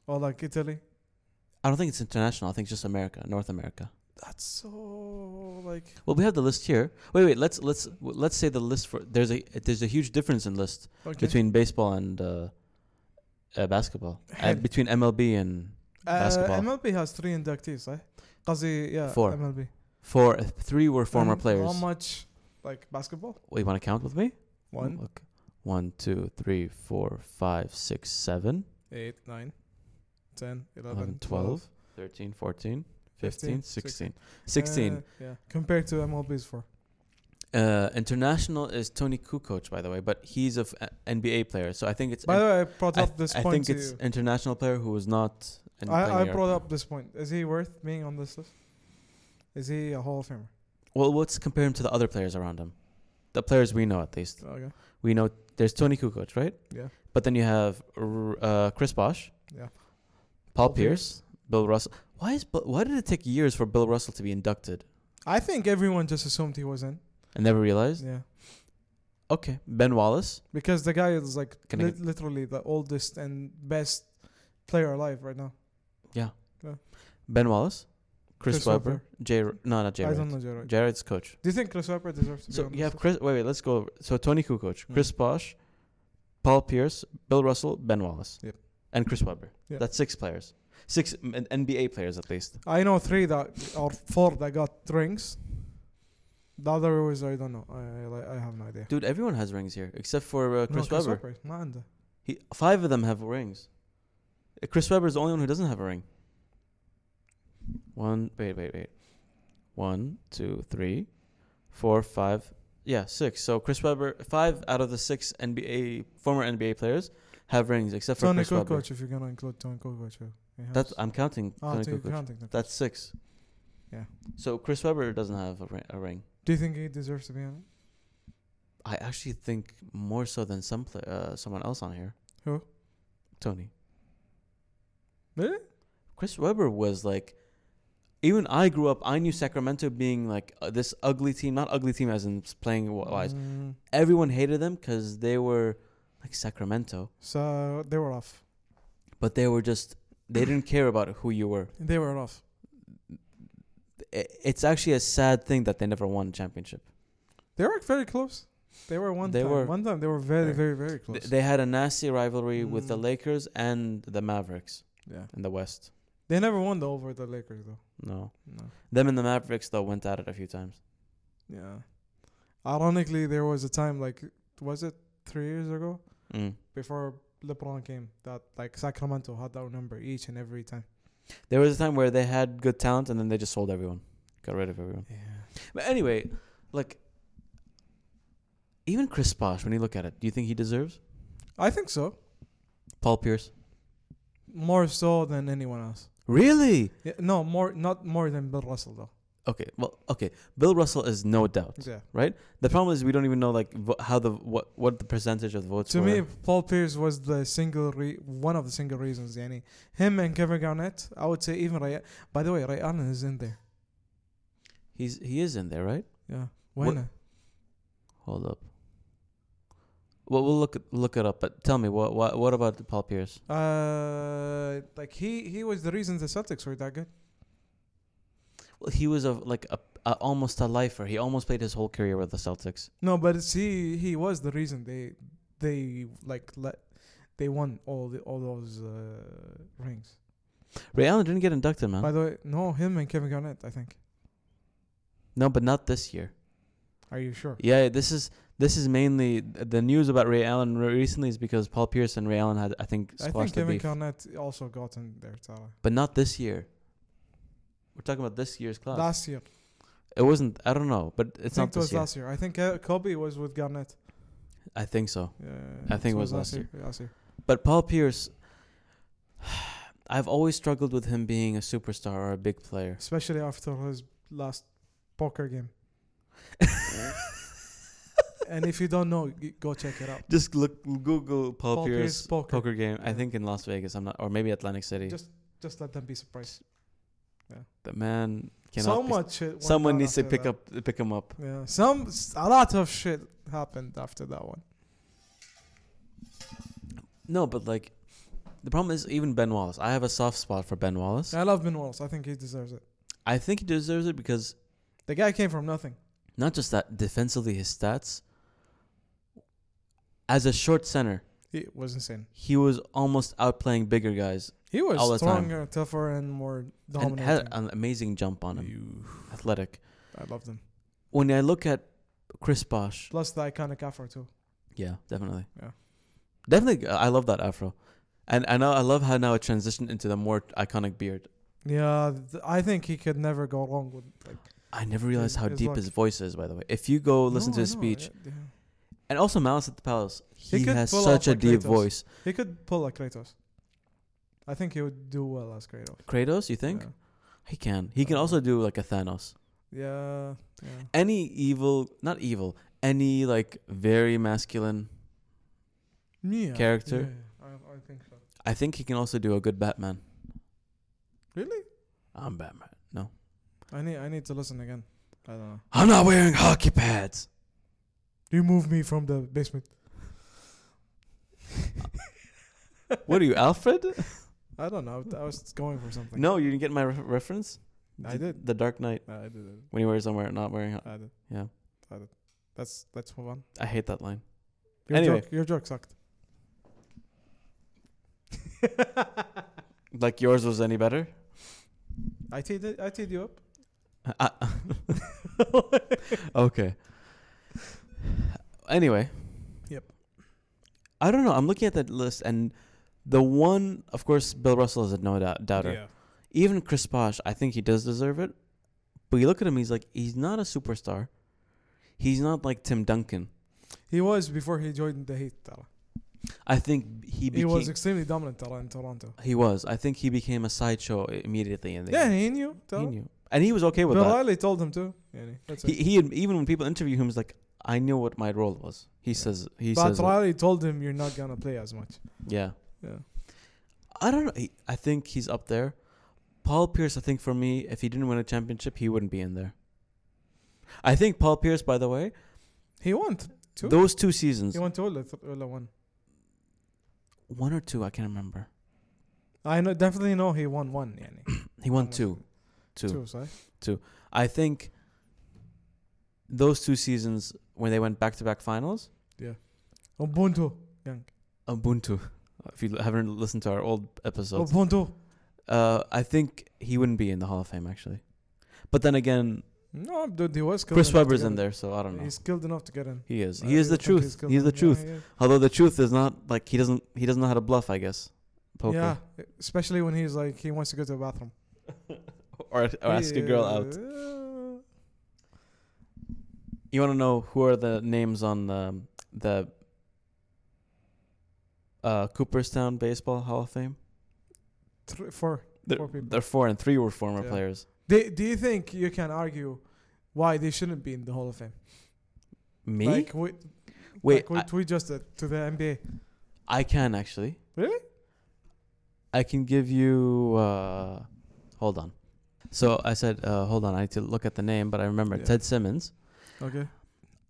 S2: or like Italy?
S1: I don't think it's international. I think it's just America, North America.
S2: That's so like
S1: Well, we have the list here. Wait, wait. Let's let's let's say the list for there's a there's a huge difference in list
S2: okay.
S1: between baseball and uh, uh, basketball, uh,
S2: Hell.
S1: between MLB and
S2: Uh,
S1: basketball.
S2: MLB has three inductees, right? Qazi, yeah,
S1: Four.
S2: MLB.
S1: four uh, three were former
S2: And
S1: players.
S2: How much like basketball?
S1: Wait, you want to count with me?
S2: One,
S1: Look. One, two, three, four, five, six, seven,
S2: eight, nine, ten, eleven,
S1: eleven,
S2: twelve,
S1: twelve, thirteen, fourteen, fifteen,
S2: fifteen,
S1: sixteen. Sixteen.
S2: Uh, yeah, compared to MLB's four.
S1: Uh, international is Tony Kukoc, by the way, but he's a f- a- NBA player, so I think it's.
S2: By the way, I brought
S1: I,
S2: up this
S1: I
S2: point
S1: think
S2: to
S1: it's
S2: you.
S1: international player who was not. in playing
S2: I, I
S1: Europe.
S2: brought up this point. Is he worth being on this list? Is he a Hall of Famer?
S1: Well, let's compare him to the other players around him, the players we know at least.
S2: Okay.
S1: We know there's Tony Kukoc, right?
S2: Yeah.
S1: But then you have R- uh, Chris Bosh.
S2: Yeah.
S1: Paul,
S2: Paul
S1: Pierce, Bill Russell. Why is Bill, why did it take years for Bill Russell to be inducted
S2: I think everyone just assumed he was in.
S1: and never realized?
S2: Yeah.
S1: Okay, Ben Wallace.
S2: Because the guy is like
S1: Can I
S2: lit-
S1: get-
S2: literally the oldest and best player alive right now.
S1: Ben Wallace, Chris,
S2: Chris
S1: Webber,
S2: Webber.
S1: Jay. R- No, not Jay.
S2: I
S1: Wright.
S2: don't know Jared.
S1: Jared's coach.
S2: Do you think Chris Webber deserves to be Mm-hmm.
S1: So
S2: on
S1: you
S2: this
S1: have
S2: list?
S1: Chris. Wait, wait. Let's go. Over. So Tony Kukoc, Chris Bosh, Paul Pierce, Bill Russell, Ben Wallace,
S2: Yep.
S1: and Chris Webber.
S2: Yeah.
S1: That's six players. Six mm, and NBA players at least.
S2: I know three that or four that got rings. The other was I don't know. I I, like, I have no idea.
S1: Dude, everyone has rings here except for uh,
S2: No,
S1: Chris Webber.
S2: Webber. ما عنده.
S1: He, five of them have rings. Uh, Chris Webber is the only one who doesn't have a ring. One, wait, wait, wait. One, two, three, four, five. Yeah, six. So Chris Webber, five out of the six NBA former NBA players have rings, except for
S2: Tony
S1: Chris Webber.
S2: Kukoc, if you're gonna include Tony Kukoc. yeah. He has-
S1: That's I'm counting.
S2: ah,
S1: Tony
S2: so you're
S1: Kukoc.
S2: counting them.
S1: That's six.
S2: Yeah.
S1: So Chris Webber doesn't have a, ri- a ring.
S2: Do you think he deserves to be on it?
S1: I actually think more so than some pla uh, someone else on here.
S2: Who?
S1: Tony.
S2: Really?
S1: Chris Webber was like, even I grew up. I knew Sacramento being like uh, this ugly team, not ugly team as in s- playing wi- wise.
S2: Mm,
S1: Everyone hated them because they were like Sacramento,
S2: so they were off.
S1: but they were just they
S2: [clears throat]
S1: didn't care about who you were.
S2: They were off.
S1: I- It's actually a sad thing that they never won a championship.
S2: They were very close. They were one
S1: They
S2: time.
S1: were-
S2: one time they were very,
S1: Right.
S2: very, very close.
S1: Th- They had a nasty rivalry with the
S2: Mm.
S1: Lakers and the Mavericks
S2: yeah.
S1: in the West.
S2: They never won the over the Lakers though.
S1: No,
S2: No.
S1: them and the Mavericks though went at it a few times.
S2: Yeah. Ironically, there was a time like was it three years ago
S1: Mm.
S2: before LeBron came that like Sacramento had that number each and every time.
S1: There was a time where they had good talent and then they just sold everyone, got rid of everyone.
S2: Yeah.
S1: But anyway, like even Chris Bosh, when you look at it, do you think he deserves
S2: I think so.
S1: Paul Pierce?
S2: More so than anyone else.
S1: Really?
S2: Yeah, no, more not more than Bill Russell though.
S1: Okay. Well, okay. Bill Russell is no doubt.
S2: Yeah.
S1: The problem is we don't even know like vo- how the what what the percentage of the votes
S2: To
S1: were.
S2: me, Paul Pierce was the single re- one of the single reasons. Yani him and Kevin Garnett. I would say even Ray. By the way, Ray Allen is in there.
S1: he's he is in there, right?
S2: Yeah.
S1: What-
S2: When?
S1: Hold up. Well, we'll look look it up. But tell me, what what what about Paul Pierce?
S2: Uh, like he he was the reason the Celtics were that good.
S1: Well, he was a like a, a almost a lifer. He almost played his whole career with the Celtics.
S2: No, but it's he he was the reason they they like let they won all the all those uh, rings.
S1: Ray Allen didn't get inducted,
S2: By
S1: man.
S2: the way, no, him and Kevin Garnett, I think.
S1: No, but not this year.
S2: Are you sure?
S1: Yeah, this is this is mainly the news about Ray Allen re- recently is because Paul Pierce and Ray Allen had I think
S2: I
S1: squashed
S2: think
S1: the
S2: Kevin
S1: beef,
S2: Garnett also got in there, Tara.
S1: but not this year. We're talking about this year's class.
S2: Last year,
S1: it wasn't. I don't know, but it's
S2: I
S1: not
S2: think it
S1: this
S2: was
S1: year.
S2: last year. I think uh, Kobe was with Garnett.
S1: I think so.
S2: Yeah,
S1: I think it was last
S2: Last year.
S1: But Paul Pierce, [sighs] I've always struggled with him being a superstar or a big player.
S2: especially after his last poker game. [laughs] and if you don't know, y- go check it out.
S1: Just look, Google Paul,
S2: Paul
S1: Pierce,
S2: Pierce poker.
S1: poker. game. I
S2: Yeah.
S1: think in Las Vegas. I'm not, or maybe Atlantic City.
S2: Just just let them be surprised.
S1: the man cannot.
S2: So
S1: be-
S2: much. shit went
S1: Someone
S2: down
S1: needs to
S2: after
S1: pick
S2: that.
S1: up, pick him up.
S2: Yeah, some s- a lot of shit happened after that one.
S1: No, but like, the problem is even Ben Wallace. I have a soft spot for Ben Wallace.
S2: I love Ben Wallace. I think he deserves it.
S1: I think he deserves it because
S2: The guy came from nothing.
S1: not just that defensively, his stats. As a short center,
S2: He was insane.
S1: he was almost outplaying bigger guys
S2: He was
S1: All the time.
S2: stronger, tougher, and more
S1: and
S2: dominating.
S1: had an amazing jump on him. athletic.
S2: I loved him.
S1: When I look at Chris Bosch,
S2: Plus the iconic afro too.
S1: yeah, definitely,
S2: Yeah.
S1: definitely, I love that afro, and I know I love how now it transitioned into the more iconic beard.
S2: Yeah, th- I think he could never go wrong with like.
S1: I never realized
S2: His-
S1: how
S2: his
S1: deep
S2: look.
S1: his voice is. By the way, if you go listen
S2: No,
S1: to
S2: I
S1: his
S2: know,
S1: speech,
S2: yeah, yeah.
S1: and also Malice at the Palace,
S2: He
S1: he,
S2: could
S1: has
S2: pull
S1: such a
S2: off like
S1: deep
S2: Kratos.
S1: voice.
S2: He could pull like Kratos. I think he would do well as Kratos.
S1: Kratos, you think
S2: Yeah.
S1: he can? He can
S2: Uh,
S1: also do like a Thanos.
S2: Yeah. yeah.
S1: Any evil, not evil, any like very masculine.
S2: Yeah,
S1: Character?
S2: yeah, I, I think so.
S1: I think he can also do a good Batman.
S2: Really?
S1: I'm Batman. No,
S2: I need I need to listen again. I don't know.
S1: I'm not wearing hockey pads.
S2: Remove me from the basement.
S1: What are you,
S2: [laughs]
S1: Alfred?
S2: I don't know. I was going for something.
S1: No, you didn't get my re- reference. The-
S2: I did.
S1: The Dark Knight
S2: I did it.
S1: when he wears somewhere not wearing.
S2: I did.
S1: Yeah,
S2: I did. Let's let's move on.
S1: I hate that line.
S2: Your
S1: Anyway.
S2: joke, your joke sucked. [laughs]
S1: Like yours was any
S2: [laughs]
S1: better?
S2: I teed it, I teed you up.
S1: Uh, okay. Anyway.
S2: Yep.
S1: I don't know. I'm looking at that list, and the one, of course, Bill Russell is a no doubt doubter. Even Chris Bosh, I think he does deserve it. But you look at him, he's like he's not a superstar. He's not like Tim Duncan.
S2: He was before he joined the Heat. Tara.
S1: I think he
S2: He
S1: became.
S2: was extremely dominant Tara, in Toronto.
S1: He was. I think he became a sideshow immediately. In the
S2: Yeah,
S1: game.
S2: he knew.
S1: he
S2: Tara.
S1: knew, and he was okay with
S2: Bill
S1: that.
S2: Riley told him to. Yeah, that's it.
S1: He, he had- even when people interview him, he's like, "I knew what my role was." He
S2: Yeah.
S1: says, "He
S2: but
S1: says, it.
S2: Riley told him you're not gonna play as much.
S1: yeah."
S2: Yeah.
S1: I don't know. He, I think he's up there. Paul Pierce, I think for me, if he didn't win a championship, he wouldn't be in there. I think Paul Pierce, by the way,
S2: He won. th- Two?
S1: those two seasons,
S2: He won two or, th- or one.
S1: one or two, I can't remember.
S2: I know definitely know he won one. Yeah,
S1: He won two, two.
S2: Two, sorry.
S1: I think those two seasons when they went back to back finals,
S2: Ubuntu. Young.
S1: Ubuntu. [laughs] If you haven't listened to our old episodes,
S2: Ubuntu.
S1: uh, I think he wouldn't be in the Hall of Fame actually. But then again,
S2: No, dude, he was. skilled
S1: Chris
S2: enough to
S1: Webber's
S2: get
S1: in
S2: it.
S1: there, so I don't know.
S2: He's uh, skilled enough to get in.
S1: he is.
S2: I
S1: He is the
S2: really think
S1: truth.
S2: skilled
S1: He's the
S2: enough.
S1: truth.
S2: Yeah, he is.
S1: Although the truth is not like he doesn't he doesn't know how to bluff, I guess. Poker.
S2: Yeah, especially when he's like he wants to go to the bathroom.
S1: [laughs] Or, or Oh, ask a girl out.
S2: Yeah.
S1: You want to know who are the names on the the uh, Cooperstown Baseball Hall of Fame?
S2: Three, four.
S1: They're,
S2: Four people.
S1: they're four and three were former
S2: Yeah.
S1: players.
S2: Do, do you think you can argue why they shouldn't be in the Hall of Fame?
S1: Me?
S2: Like we,
S1: Wait,
S2: like what we just did to the NBA.
S1: I, I can actually.
S2: Really?
S1: I can give you. Uh, hold on. So I said, uh, hold on. I need to look at the name, but I remember
S2: Yeah.
S1: Ted Simmons.
S2: Okay.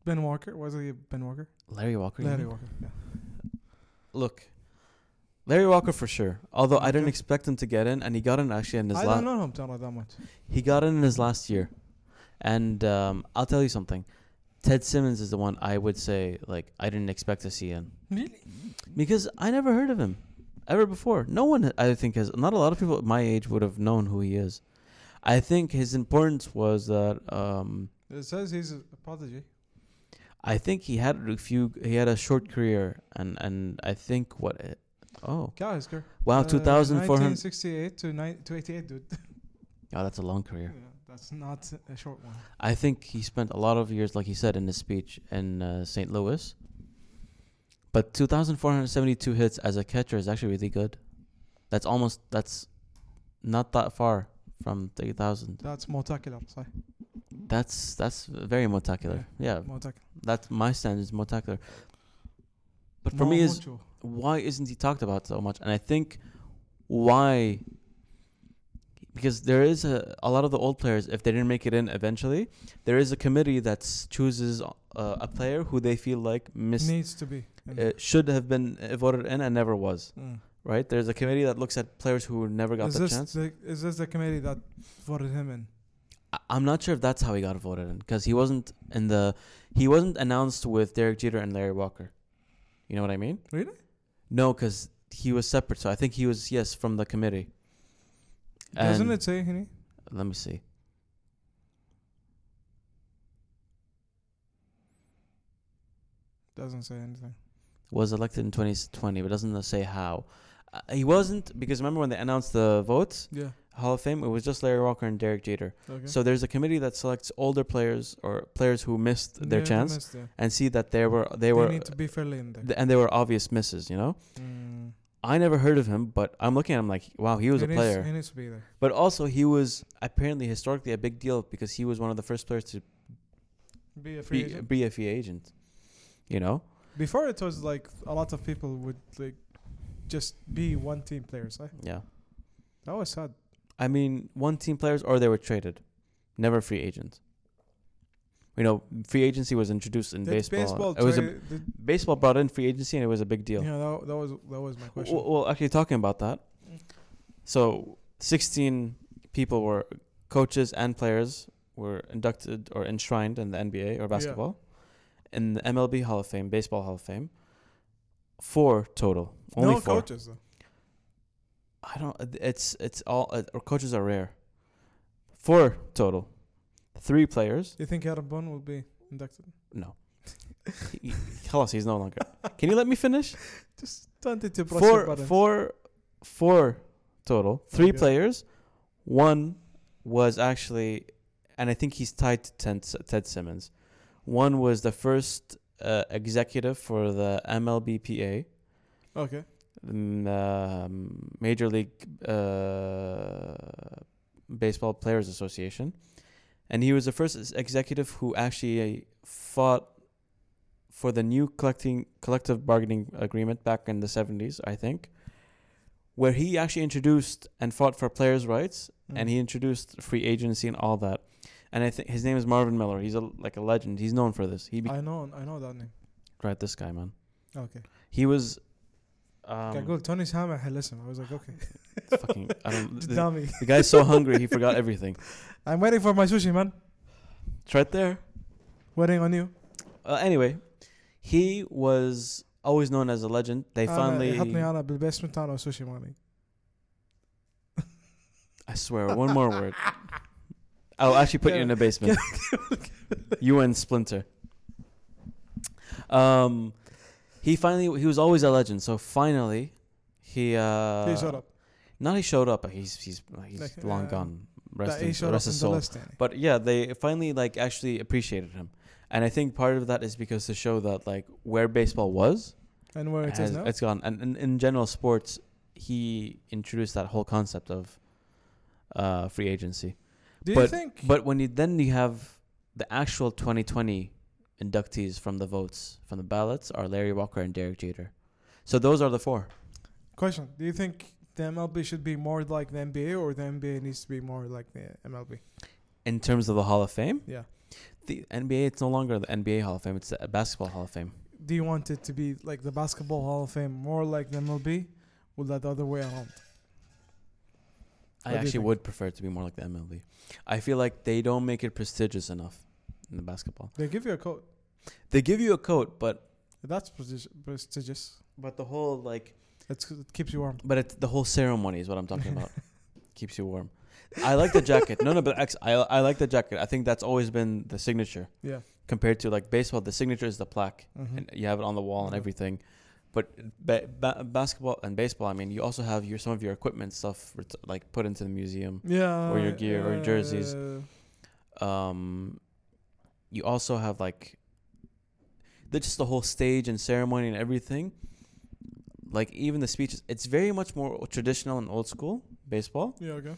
S2: Ben Walker was he Ben Walker?
S1: Larry Walker. you
S2: Larry
S1: mean?
S2: Walker. Yeah.
S1: Look, Larry Walker for sure. Although I didn't
S2: Okay.
S1: expect him to get in, and he got in actually in his
S2: I
S1: last.
S2: don't know him Tara, that much.
S1: He got in in his last year, and um, I'll tell you something. Ted Simmons is the one I would say like I didn't expect to see in
S2: Really?
S1: because I never heard of him ever before. No one I think has not a lot of people at my age would have known who he is. I think his importance was that um,
S2: It says he's a prodigy.
S1: I think he had a few he had a short career and and I think what it, oh
S2: Yeah, his career.
S1: wow
S2: Uh,
S1: 2400
S2: 1968 to, nine to 88, dude.
S1: oh that's a long career.
S2: Yeah, that's not a short one.
S1: I think he spent a lot of years, like he said in his speech, in uh, St. Louis. But 2,472 hits as a catcher is actually really good. That's almost that's not that far from 3,000.
S2: That's Motakila. Sorry.
S1: That's that's very motacular. Yeah,
S2: Motakila.
S1: that's my standards, motacular. But for me, is why isn't he talked about so much? And I think why because there is a, a lot of the old players if they didn't make it in eventually there is a committee that chooses uh, a player who they feel like mis-
S2: needs to be. in
S1: uh,
S2: there.
S1: should have been uh, voted in and never was
S2: Mm.
S1: right there's a committee that looks at players who never got
S2: Is
S1: the
S2: this
S1: chance
S2: the is this the committee that voted him in?
S1: I- i'm not sure if that's how he got voted in because he wasn't in the he wasn't announced with derek jeter and larry walker you know what i mean
S2: Really?
S1: no because he was separate so i think he was yes from the committee
S2: Doesn't
S1: And-
S2: it say Hini?
S1: Let me see.
S2: Doesn't say anything.
S1: Was elected in 2020, but doesn't say how. Uh, he wasn't because remember when they announced the votes,
S2: Yeah.
S1: Hall of Fame, it was just Larry Walker and Derek Jeter.
S2: Okay.
S1: So there's a committee that selects older players or players who missed their
S2: Yeah, they
S1: chance
S2: missed it.
S1: and see that they were they
S2: They
S1: were
S2: need to be fairly in there.
S1: th- and they were obvious misses. You know,
S2: Mm.
S1: I never heard of him, but I'm looking at him like, wow, he was
S2: He
S1: a
S2: needs-
S1: player.
S2: he needs to be there.
S1: but also he was apparently historically a big deal because he was one of the first players to
S2: Be a free
S1: be, um,
S2: agent.
S1: be a free agent. You know,
S2: Before it was like a lot of people would like just be one team players. Eh?
S1: yeah.
S2: That was sad.
S1: I mean, one team players or they were traded, never free agent. You know, free agency was introduced in
S2: Did
S1: baseball.
S2: baseball
S1: it was a,
S2: trade- did-
S1: baseball brought in free agency and it was a big deal.
S2: yeah, that, that was that was my question.
S1: well, well, actually, talking about that, so 16 people were coaches and players were inducted or enshrined in the NBA or basketball, in the MLB Hall of Fame, Baseball Hall of Fame. Four total, only
S2: no
S1: four.
S2: coaches though.
S1: I don't. It's it's all. Uh, or coaches are rare. Four total, three players.
S2: You think Adam Bone will be inducted?
S1: No, [laughs] he, he- خلاص, he's no longer. Can you let me finish?
S2: Just wanted to press your
S1: Four,
S2: buttons.
S1: four, four total. Three
S2: Okay.
S1: players. One was actually, and I think he's tied to Ted, Ted Simmons. One was the first uh, executive for the MLBPA.
S2: Okay.
S1: mm, um, Major League uh, Baseball Players Association, and he was the first ex- executive who actually uh, fought for the new collecting collective bargaining agreement back in the seventies, I think, where he actually introduced and fought for players' rights,
S2: Mm.
S1: and he introduced free agency and all that. And I think his name is Marvin Miller. He's a like a legend. He's known for this. He be-
S2: I know I know that name.
S1: right this guy man.
S2: Okay.
S1: He was. Um,
S2: I go Tony Sama listen. I was like,
S1: [laughs]
S2: okay.
S1: fucking, I
S2: [laughs]
S1: don't, the-
S2: Dummy.
S1: The guy's so hungry he forgot everything.
S2: I'm waiting for my sushi, man.
S1: It's right there.
S2: Waiting on you.
S1: Uh, anyway, he was always known as a legend. They
S2: Uh,
S1: finally,
S2: حطني انا بالبيسمنت انا وسوشي ماني.
S1: I swear, one more word. I'll actually put you in a basement. you and Splinter. Um, he finally, he was always a legend. So finally, he uh,
S2: [laughs] Please shut up.
S1: Not he showed up. He's he's he's
S2: Like,
S1: long
S2: uh,
S1: gone. Rest,
S2: That
S1: in,
S2: he showed up
S1: rest
S2: in
S1: his
S2: the
S1: soul.
S2: list يعني.
S1: But yeah, they finally like actually appreciated him, and I think part of that is because to show that like where baseball was,
S2: And where it
S1: has-
S2: is now.
S1: it's gone. And, and in general sports, he introduced that whole concept of uh, free agency.
S2: Do you
S1: but-
S2: think
S1: But when you then you have the actual 2020 inductees from the votes from the ballots are Larry Walker and Derek Jeter. So those are the four.
S2: question, do you think the MLB should be more like the NBA or the NBA needs to be more like the MLB?
S1: in terms of the Hall of Fame,
S2: Yeah.
S1: the NBA it's no longer the NBA Hall of Fame; it's the Basketball Hall of Fame.
S2: Do you want it to be like the Basketball Hall of Fame, more like the MLB, or that the other way around?
S1: I
S2: What do you
S1: actually
S2: think?
S1: would prefer it to be more like the MLB. I feel like they don't make it prestigious enough in the basketball.
S2: They give you a coat.
S1: They give you a coat, but
S2: That's prestigi- prestigious.
S1: but the whole like
S2: It's, it keeps you warm.
S1: but it's the whole ceremony is what I'm talking
S2: [laughs]
S1: about. Keeps you warm. I like the jacket. No, no, but ex- I I like the jacket. I think that's always been the signature
S2: Yeah.
S1: compared to like baseball. The signature is the plaque,
S2: [laughs] Mm-hmm.
S1: and you have it on the wall and
S2: Yeah.
S1: everything. But ba- ba- basketball and baseball, I mean, you also have your some of your equipment stuff ret- like put into the museum.
S2: yeah.
S1: or your gear or your jerseys.
S2: uh,
S1: um you also have like the just the whole stage and ceremony and everything like even the speeches it's very much more traditional and old school baseball
S2: yeah. Okay.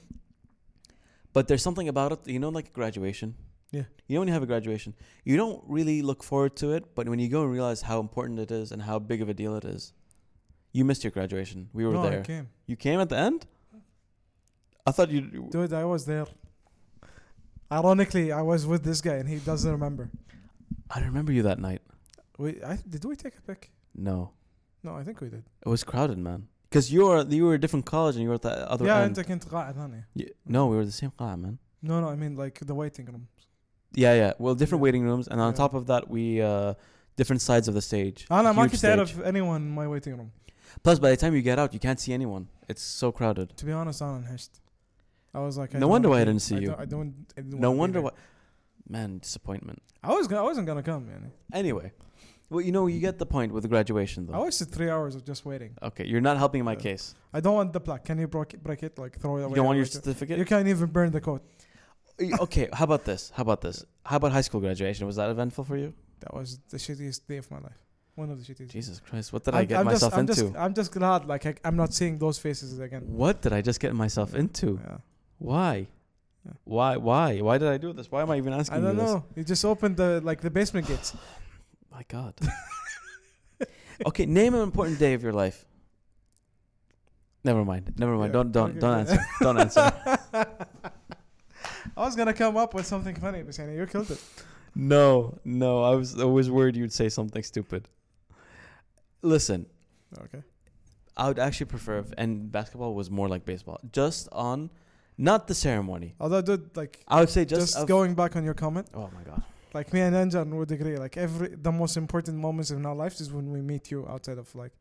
S1: but there's something about it you know like graduation
S2: Yeah.
S1: you know when you have a graduation you don't really look forward to it but when you go and realize how important it is and how big of a deal it is you missed your graduation we were
S2: no, I
S1: there
S2: came.
S1: you came at the end i thought you
S2: Dude, I was there. Ironically, I was with this guy and he doesn't remember.
S1: i remember you that night
S2: We I did we take a pic?
S1: no
S2: No, I think we did.
S1: It was crowded, man. Because you were you were a different college and you were at the other
S2: yeah,
S1: end.
S2: انت كنت قاعد ثانية.
S1: Y- no, we were the same class, man.
S2: No, no, I mean like the waiting room.
S1: Yeah, yeah. Well, different
S2: Yeah.
S1: waiting rooms, and on
S2: Yeah. Ah,
S1: top of that, we uh, different sides of the stage.
S2: انا ما
S1: Huge
S2: كنت
S1: stage.
S2: اعرف anyone in my waiting room.
S1: Plus, by the time you get out, you can't see anyone. It's so crowded.
S2: To be honest, انا انهشت. I was like
S1: No
S2: I don't
S1: wonder
S2: wanna
S1: why I
S2: be-
S1: didn't see you.
S2: don't- I don't, I didn't
S1: No
S2: wanna be
S1: wonder
S2: there.
S1: why. Man, disappointment.
S2: I was gonna, I wasn't gonna come يعني.
S1: Anyway, well, you know, you get the point with the graduation,
S2: I
S1: though.
S2: wasted three hours of just waiting.
S1: Okay, you're not helping my
S2: Yeah.
S1: case.
S2: I don't want the plaque. Can you break it, break it like throw it away?
S1: You don't want
S2: or
S1: your
S2: like-
S1: certificate.
S2: You can't even burn the coat.
S1: Y- okay, how about this? How about this? How about high school graduation? Was that eventful for
S2: [laughs]
S1: you?
S2: That was the shittiest day of my life. One of the shittiest.
S1: Jesus Christ, what did I, get
S2: I'm
S1: myself
S2: just, I'm
S1: into?
S2: Just, I'm just glad, like, I, I'm not seeing those faces again.
S1: what did I just get myself into?
S2: Yeah.
S1: Why?
S2: Yeah.
S1: Why? Why? Why did I do this? Why am I even asking
S2: I don't
S1: you this?
S2: know. You just opened the like the basement
S1: [laughs]
S2: gates.
S1: My God. okay, name an important day of your life. Never mind. Never mind.
S2: Yeah,
S1: Don't don't [laughs]
S2: okay,
S1: don't
S2: good.
S1: answer. Don't answer.
S2: I was gonna come up with something funny, but Sani, you killed it.
S1: No, no. I was always worried you'd say something stupid. Listen,
S2: Okay.
S1: I would actually prefer if and basketball was more like baseball. Just on, not the ceremony.
S2: Although, dude, like,
S1: I would say just,
S2: just,
S1: of-
S2: going back on your comment,
S1: Oh my God.
S2: like me and Anjan would agree. Like, every the most important moments in our lives is when we meet you outside of like.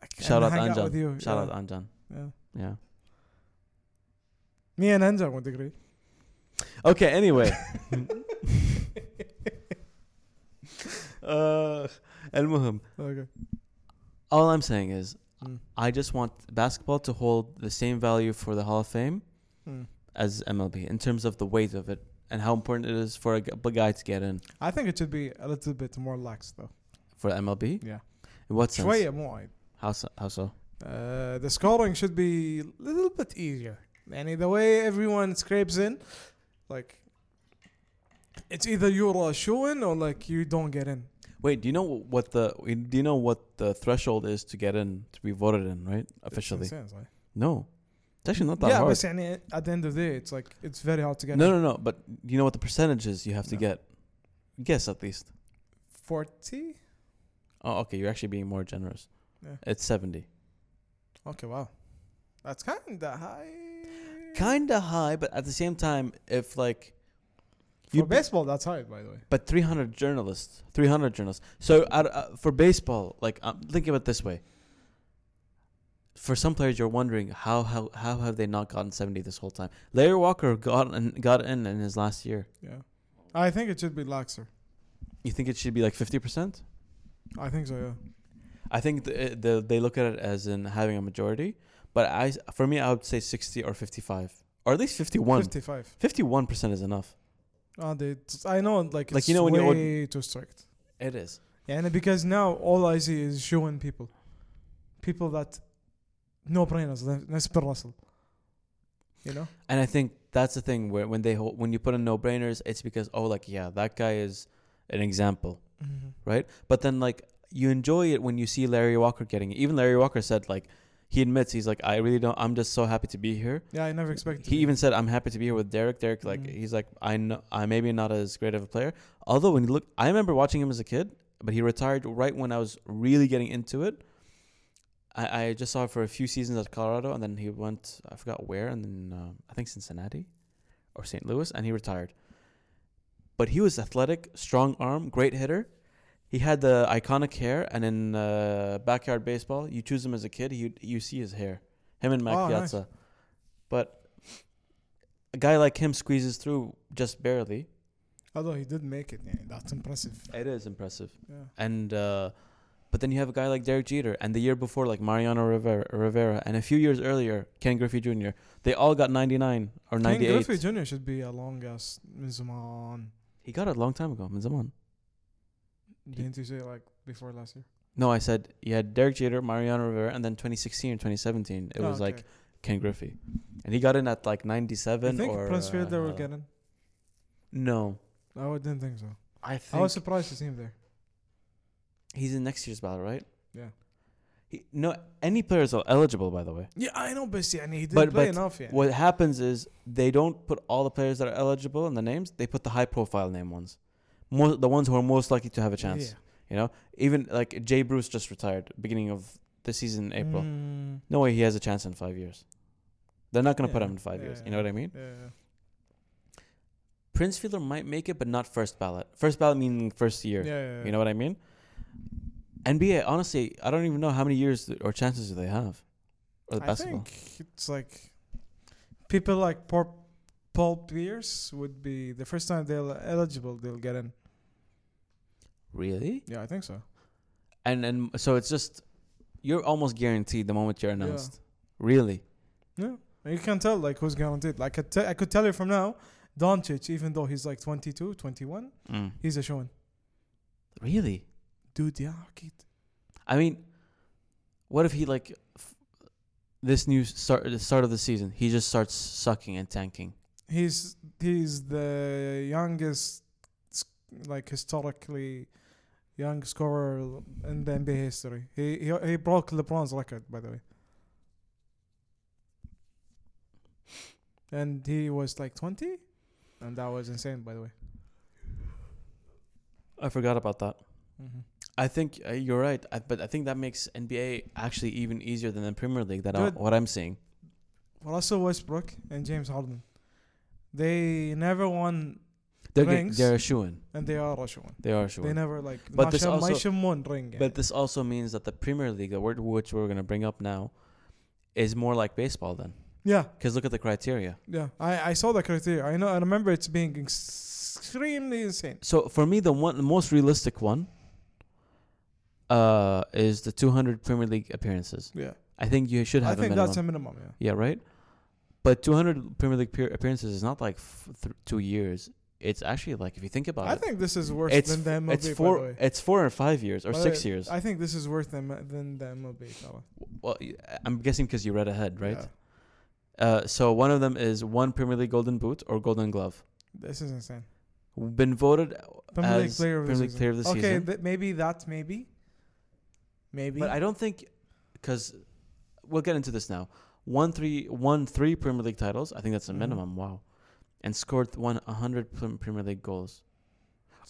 S2: like, and
S1: Shout out
S2: hang
S1: Anjan.
S2: with you.
S1: Shout
S2: yeah.
S1: out Anjan.
S2: Yeah.
S1: Yeah.
S2: Me and Anjan would agree.
S1: Okay,
S2: [laughs]
S1: anyway. uh, المهم.
S2: Okay.
S1: All I'm saying is,
S2: Mm.
S1: I just want basketball to hold the same value for the Hall of Fame
S2: Mm.
S1: as MLB in terms of the weight of it and how important it is for a g- b- guy to get in
S2: I think it should be a little bit more lax though.
S1: for MLB.
S2: Yeah.
S1: In what sense?
S2: شوية مو عيب.
S1: How so? How so?
S2: Uh, the scoring should be a little bit easier. And the way everyone scrapes in, like it's either you're a shoe in or like you don't get in.
S1: Wait, do you know what the do you know what the threshold is to get in to be voted in? Right, officially.
S2: It's insane, right?
S1: No, it's actually not that
S2: yeah,
S1: hard.
S2: but يعني at the end of the day, it's like it's very hard to get
S1: No,
S2: in.
S1: no, no. But you know what the percentages you have to
S2: No.
S1: get? Guess at least.
S2: Forty.
S1: Oh, okay. You're actually being more generous.
S2: Yeah.
S1: It's 70.
S2: Okay, wow, that's kind of high.
S1: Kind of high, but at the same time, if like.
S2: for
S1: you-
S2: baseball, that's high, by the way.
S1: But 300 journalists. 300 journalists. So out, uh, for baseball, like, um, think of it this way. For some players, you're wondering how, how how have they not gotten 70 this whole time? Larry Walker got in, got in in his last year.
S2: Yeah, I think it should be laxer.
S1: You think it should be like 50%?
S2: I think so. Yeah.
S1: I think the, eh, the, they look at it as in having a majority. But I, for me, I would say 60 or 55. Or at least 51.
S2: 55.
S1: 51% is enough.
S2: Oh, they, it's- I know, like,
S1: Like,
S2: it's
S1: you know when you would-
S2: way too strict.
S1: It is.
S2: Yeah, and because now all I see is showing people. People that no brainers, that's Bill Russell. You know?
S1: And I think that's the thing where when they hol- when you put in no brainers, it's because oh like yeah that guy is an example,
S2: Mm-hmm.
S1: right? But then like you enjoy it when you see Larry Walker getting it. Even Larry Walker said like he admits he's like, I really don't. I'm just so happy to be here.
S2: Yeah, I never expected.
S1: He even said, I'm happy to be here with Derek. Derek, like,
S2: Mm.
S1: he's like, I know, I maybe not as great of a player. Although when you look, I remember watching him as a kid, but he retired right when I was really getting into it. I, I just saw him for a few seasons at Colorado, and then he went, I forgot where, and then uh, I think Cincinnati or St. Louis, and he retired. But he was athletic, strong arm, great hitter. He had the iconic hair, and in uh, backyard baseball, you choose him as a kid, you you see his hair. Him and Mac
S2: Oh, nice.
S1: Piazza. But a guy like him squeezes through just barely.
S2: although he did make it. Yeah, that's impressive.
S1: It is impressive.
S2: Yeah.
S1: And uh, but then you have a guy like Derek Jeter, and the year before like Mariano Rivera, Rivera, and a few years earlier Ken Griffey Jr. They all got 99 or
S2: Ken
S1: 98.
S2: Griffey Jr. should be a long ass Mizuman.
S1: He got it a long time ago. من زمان.
S2: Didn't you say like before last year?
S1: No, I said you had Derek Jeter, Mariano Rivera, and then 2016 or 2017. It
S2: Oh,
S1: was like
S2: okay.
S1: Ken Griffey, and he got in at like
S2: You
S1: 97
S2: think
S1: or.
S2: Prince Fielder will
S1: uh,
S2: get in?
S1: No,
S2: No, I didn't think so.
S1: I
S2: I
S1: think
S2: was surprised to see him there.
S1: he's in next year's ballot, right?
S2: Yeah.
S1: He, no, any players are eligible, by the way.
S2: Yeah, I know, but yeah, he didn't
S1: But-
S2: play
S1: but
S2: enough. Yeah.
S1: What happens is they don't put all the players that are eligible in the names. They put the high-profile name ones, Mo the ones who are most likely to have a chance. You know, even like Jay Bruce just retired beginning of the season in April.
S2: Mm,
S1: No way he has a chance in five years. They're not going to put
S2: Yeah,
S1: him in five years. You know
S2: yeah.
S1: what I mean?
S2: yeah, yeah.
S1: Prince Fielder might make it, but not first ballot. First ballot meaning first year.
S2: Yeah, yeah, yeah.
S1: You know what I mean? NBA, honestly, I don't even know how many years th- or chances do they have. Or the
S2: I
S1: basketball.
S2: think it's like people like Paul, Paul Pierce would be the first time they'll eligible they'll get in.
S1: Really?
S2: Yeah, I think so.
S1: And and so it's just you're almost guaranteed the moment you're
S2: Yeah.
S1: announced. Really?
S2: Yeah, you can tell like who's guaranteed. Like I, te- I could tell you from now, Doncic, even though he's like 22, 21,
S1: Mm.
S2: he's a showing.
S1: Really?
S2: Dude, yeah, kid.
S1: I mean, what if he like f- this new start the start of the season, he just starts sucking and tanking.
S2: He's he's the youngest, s- like historically, young scorer in the NBA history. He he, he broke LeBron's record by the way. And he was like 20, and that was insane by the way.
S1: I forgot about that.
S2: Mm-hmm.
S1: I think uh, you're right, I, but I think that makes NBA actually even easier than the Premier League. That I,
S2: Dude.
S1: what I'm seeing.
S2: Russell Westbrook and James Harden, they never won
S1: They're get,
S2: Rings.
S1: they're shooing.
S2: and they are Russian one.
S1: They are shooing.
S2: They never like
S1: But this
S2: Masha-
S1: also-
S2: Masha Moon ring.
S1: But this also means that the Premier League, the word which we're gonna bring up now, is more like baseball then.
S2: yeah,
S1: Because look at the criteria.
S2: yeah. I, I saw the criteria. I know. I remember it's being extremely insane.
S1: So for me, the one, the most realistic one, uh, is the 200 Premier League appearances.
S2: Yeah,
S1: I think you should
S2: I
S1: have a
S2: think
S1: minimum.
S2: that's a minimum. Yeah.
S1: yeah, right. But 200 Premier League peer appearances is not like f- th- two years. It's actually like if you think about
S2: I
S1: it,
S2: think this is worse
S1: it's
S2: than the
S1: f-
S2: MLB.
S1: it's
S2: by the
S1: four
S2: way.
S1: it's four or five years or
S2: By the
S1: six
S2: way,
S1: years.
S2: I think this is worse than than the MLB. fella.
S1: well, y- I'm guessing because you read ahead, right?
S2: Yeah.
S1: Uh, so one of them is one Premier League Golden Boot or Golden Glove.
S2: This is insane.
S1: Been voted
S2: Premier League
S1: as
S2: player of the
S1: Premier League
S2: season.
S1: Player of the
S2: okay,
S1: Season.
S2: th- maybe that maybe. Maybe.
S1: But I don't think, because we'll get into this now. Won three, won three Premier League titles. I think that's a
S2: Mhm.
S1: minimum. Wow, and scored one hundred Prem- Premier League goals,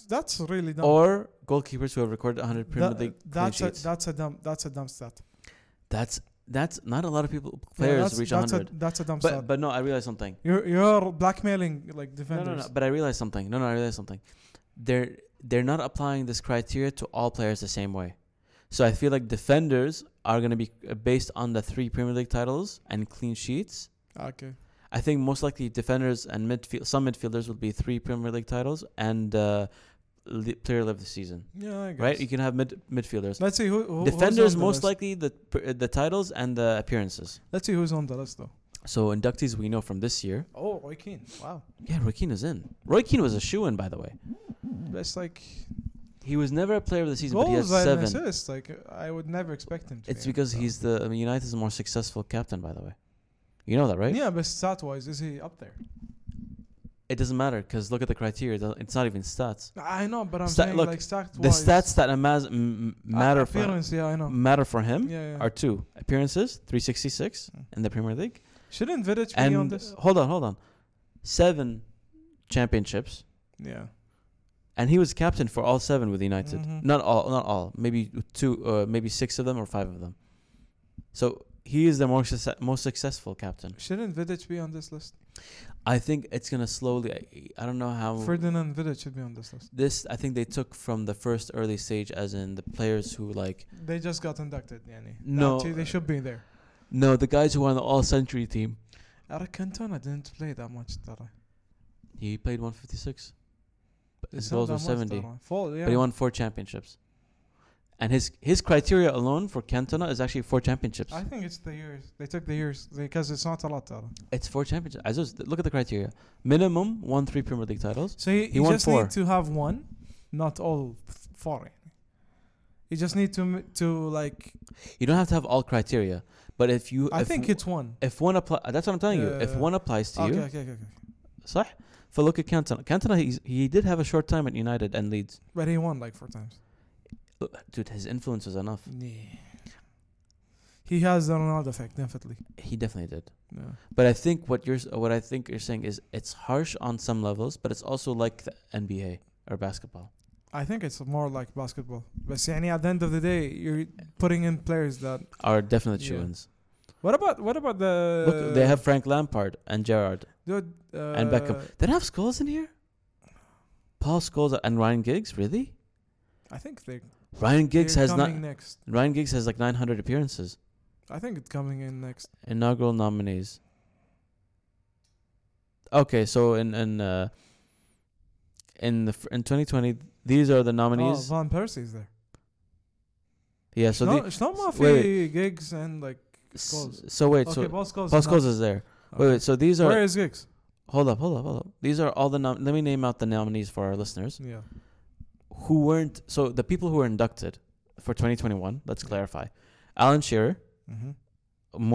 S2: that's really dumb.
S1: or goalkeepers who have recorded hundred Premier
S2: That-
S1: League clean
S2: that's a,
S1: sheets.
S2: that's a dumb that's a dumb stat.
S1: that's that's not a lot of people
S2: Yeah,
S1: players
S2: that's,
S1: reach
S2: that's a
S1: hundred.
S2: that's a dumb
S1: But
S2: stat.
S1: but no, I realized something.
S2: You're you're blackmailing like
S1: No,
S2: defenders.
S1: no, no. But I realized something. No, no, I realized something. They're they're not applying this criteria to all players the same way. So I feel like defenders are going to be uh, based on the three Premier League titles and clean sheets.
S2: Okay.
S1: I think most likely defenders and midfield some midfielders will be three Premier League titles and uh, le- player of the season.
S2: Yeah, I guess.
S1: Right? You can have mid midfielders.
S2: Let's see who, who who's
S1: defenders
S2: on the
S1: most
S2: list.
S1: likely the pr- uh, the titles and the appearances.
S2: Let's see who's on the list though.
S1: So inductees we know from this year.
S2: Oh, Roy Keane. Wow.
S1: Yeah, Roy Keane is in. Roy Keane was a shoe in, by the way.
S2: That's like
S1: He was never a player of the season, but he has
S2: goals and
S1: seven.
S2: assists. Like I would never expect him to.
S1: It's
S2: be in
S1: because
S2: the
S1: he's the I mean, United's more successful captain, by the way. You know that, right?
S2: Yeah, but stat wise, is he up there?
S1: It doesn't matter because look at the criteria. it doesn't- It's not even stats.
S2: I know, but I'm
S1: Sta-
S2: saying
S1: look,
S2: like stats.
S1: The stats that amaz- m- m- matter for
S2: Appearance, yeah, I know.
S1: matter for him
S2: Yeah, yeah.
S1: are two appearances, 366
S2: Mm.
S1: in the Premier League,
S2: Shouldn't Vidic be on
S1: and
S2: this?
S1: hold on, hold on, seven championships,
S2: Yeah.
S1: and he was captain for all seven with United.
S2: Mhm.
S1: Not all, not all, maybe two, uh, maybe six of them or five of them. So he is the most succe- most successful captain.
S2: Shouldn't Vidic be on this list?
S1: I think it's gonna slowly. I, I don't know how
S2: Ferdinand Vidic should be on this list.
S1: this. I think they took from the first early stage, as in the players who like
S2: They just got inducted, yani. That
S1: No,
S2: too, they
S1: uh,
S2: should be there.
S1: no the guys who were on the All Century team.
S2: Eric Cantona didn't play that much, did I?
S1: He played 156. But his
S2: It's not
S1: goals
S2: that
S1: were
S2: much,
S1: 70,
S2: did I? Four, yeah.
S1: but he won four championships. And his his criteria alone for Cantona is actually four championships.
S2: I think it's the years. They took the years because it's not a lot, did I?
S1: it's four championships. I just look at the criteria. Minimum won three Premier League titles.
S2: So you,
S1: He
S2: you
S1: won
S2: just
S1: four.
S2: need to have one, not all f- four. yani. You just need to m- to like.
S1: You don't have to have all criteria, but if you
S2: I
S1: if
S2: think
S1: w-
S2: it's one.
S1: if one apply that's what I'm telling you. If
S2: Yeah.
S1: one applies to
S2: Okay,
S1: you,
S2: okay, okay, okay.
S1: صح فلوك كانتونا كانتونا he's- he did have a short time at United and Leeds
S2: But he won like four times.
S1: dude his influence was enough
S2: He has the Ronaldo effect, definitely.
S1: he definitely did
S2: Yeah.
S1: but I think what you're s- what I think you're saying is it's harsh on some levels but it's also like the NBA or basketball
S2: I think it's more like basketball. But يعني at the end of the day, you're putting in players that.
S1: are definite
S2: Yeah. Uh,
S1: shoe-ins
S2: What about what about the?
S1: look they have Frank Lampard and Gerrard
S2: dude, uh,
S1: and Beckham. they don't have Scholes in here Paul Scholes and Ryan Giggs really
S2: I think they.
S1: Ryan Giggs
S2: they're
S1: has not
S2: coming next.
S1: Ryan Giggs has like 900 appearances
S2: I think it's coming in next.
S1: inaugural nominees. Okay, so in in uh, in the f- in 2020, these are the
S2: Oh,
S1: nominees.
S2: Van Persie's there.
S1: yeah, so
S2: no,
S1: the,
S2: it's not
S1: wait,
S2: Mafia gigs and like
S1: s-
S2: Scholes.
S1: so wait,
S2: okay,
S1: so
S2: Paul Scholes. is
S1: Paul
S2: not-
S1: Scholes is there. Wait,
S2: okay.
S1: wait, so these are
S2: Where is gigs?
S1: hold up, hold up, hold up. These are all the nom- let me name out the nominees for our listeners
S2: Yeah.
S1: who weren't so the people who were inducted for 2021. Let's clarify: Alan Shearer,
S2: Mm-hmm.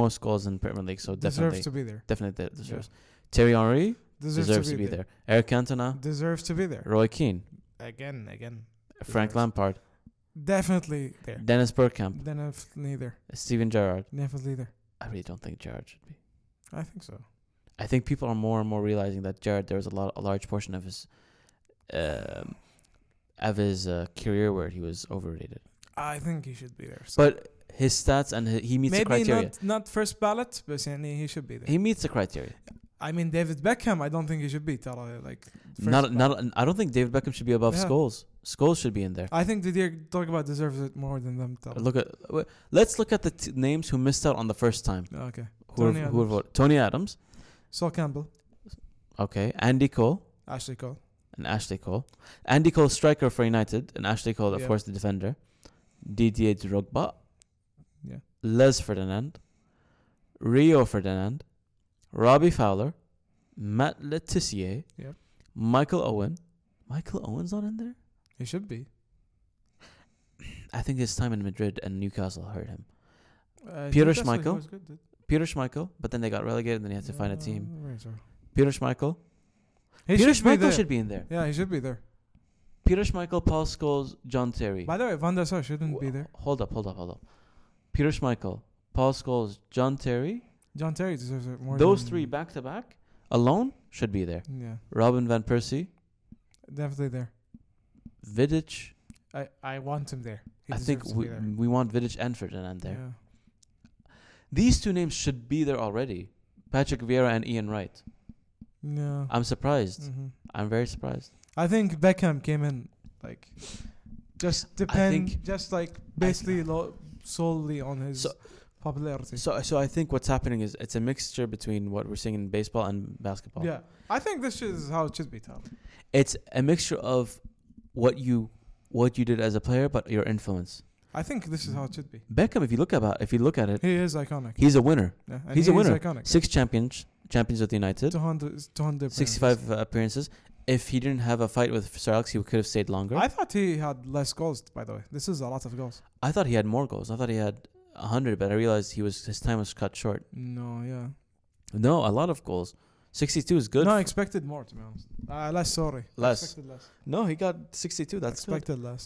S1: most goals in Premier League, so Oh, definitely
S2: Deserves to be there.
S1: definitely de- deserves. Terry Henry
S2: Deserves,
S1: deserves, to be,
S2: there.
S1: there. Eric Cantona,
S2: Deserves to be there.
S1: Roy Keane.
S2: Again, again.
S1: Frank
S2: Deserves.
S1: Lampard,
S2: Definitely there.
S1: Dennis Bergkamp,
S2: Then if neither.
S1: Steven Gerrard.
S2: Definitely there.
S1: I really don't think Gerrard should be.
S2: I think so.
S1: I think people are more and more realizing that Gerrard there was a lot, a large portion of his, um, of his uh, career where he was overrated.
S2: I think he should be there. So
S1: But his stats and hi- he meets the
S2: maybe
S1: criteria.
S2: not not first ballot, but يعني he should be there.
S1: He meets the criteria.
S2: I mean David Beckham, I don't think he should be ترى like first
S1: Not,
S2: ballot.
S1: not. I don't think David Beckham should be above
S2: Yeah.
S1: Scholes. Scholes should be in there.
S2: I think Didier Drogba deserves it more than them ترى.
S1: Look at. w- Let's look at the t- names who missed out on the first time.
S2: Okay.
S1: Who were-
S2: Tony
S1: who were
S2: Adams.
S1: voted? Tony Adams.
S2: Saul Campbell,
S1: Okay. Andy Cole.
S2: Ashley Cole.
S1: and Ashley Cole. Andy Cole, striker for United, and Ashley Cole, of
S2: Yeah.
S1: course, the defender. Didier Drogba.
S2: Yeah.
S1: Les Ferdinand. Rio Ferdinand. Robbie Fowler. Matt Letizier.
S2: Yeah.
S1: Michael Owen. Michael Owen's not in there?
S2: He should be.
S1: I think his time in Madrid and Newcastle hurt him.
S2: Uh,
S1: Peter
S2: Newcastle, he
S1: Schmeichel?
S2: was good, dude.
S1: Peter Schmeichel, but then they got relegated and then he had to find a team.
S2: Uh, where is he?
S1: Peter Schmeichel.
S2: He
S1: Peter
S2: should be there.
S1: Schmeichel should be in there.
S2: Yeah, he should be there.
S1: Peter Schmeichel, Paul Scholes, John Terry.
S2: By the way, Van der Sar shouldn't be
S1: Wha-
S2: there.
S1: Hold up, hold up, hold up. Peter Schmeichel, Paul Scholes, John Terry,
S2: John Terry deserves it more.
S1: those
S2: than-
S1: three back to back alone should be there.
S2: Yeah,
S1: Robin Van Persie,
S2: definitely there.
S1: Vidic.
S2: I, I want him there. He
S1: I think
S2: deserves to
S1: we,
S2: be there.
S1: we want Vidic and Ferdinand there. These two names should be there already. Patrick Vieira and Ian Wright.
S2: Yeah. No.
S1: I'm surprised.
S2: hmm
S1: I'm very surprised.
S2: I think Beckham came in like just depend
S1: think-
S2: just like basically lo- solely on his
S1: So-
S2: popularity.
S1: So so I think what's happening is it's a mixture between what we're seeing in baseball and basketball.
S2: yeah, I think this is how it should be taught.
S1: It's a mixture of what you what you did as a player but your influence.
S2: I think this is how it should be.
S1: Beckham if you look about if you look at it,
S2: He is iconic.
S1: he's a winner.
S2: yeah, and
S1: he's
S2: he
S1: a winner.
S2: Is iconic.
S1: six champions champions with United,
S2: 200, 200
S1: sixty-five appearances. If he didn't have a fight with Sir Alex, he could have stayed longer. I,
S2: I thought he had less goals. By the way, this is a lot of goals.
S1: thought he had more goals. I thought he had hundred, but I realized he was his time was cut short.
S2: No, yeah.
S1: No, a lot of goals. 62 is good.
S2: No,
S1: No,
S2: I expected more to be honest. Uh, less, sorry. I
S1: Less.
S2: Expected less.
S1: he got 62.
S2: I
S1: That's good.
S2: expected less.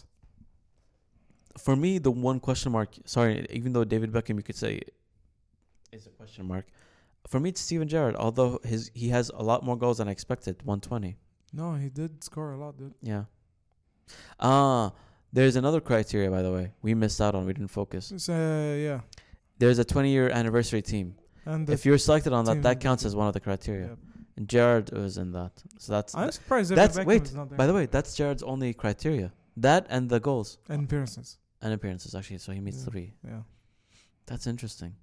S1: for me, the one question mark. Sorry, even though David Beckham, you could say, is a question mark. For me, it's Steven Gerrard. Although his he has a lot more goals than I expected, one twenty.
S2: No, he did score a lot, dude.
S1: Yeah. Ah, there's another criteria by the way we missed out on. We didn't focus.
S2: It's, uh, yeah.
S1: There's a twenty year anniversary team.
S2: And the
S1: If you're selected on that,
S2: team
S1: that
S2: of the
S1: counts as one of the criteria.
S2: yeah.
S1: And Gerrard was in that, so that's.
S2: uh, I'm surprised
S1: that's-
S2: David Beckham
S1: wait,
S2: is not there.
S1: by the way, that's Gerrard's only criteria. That and the goals
S2: and appearances.
S1: and appearances actually. So he meets
S2: Yeah.
S1: three.
S2: Yeah.
S1: That's interesting.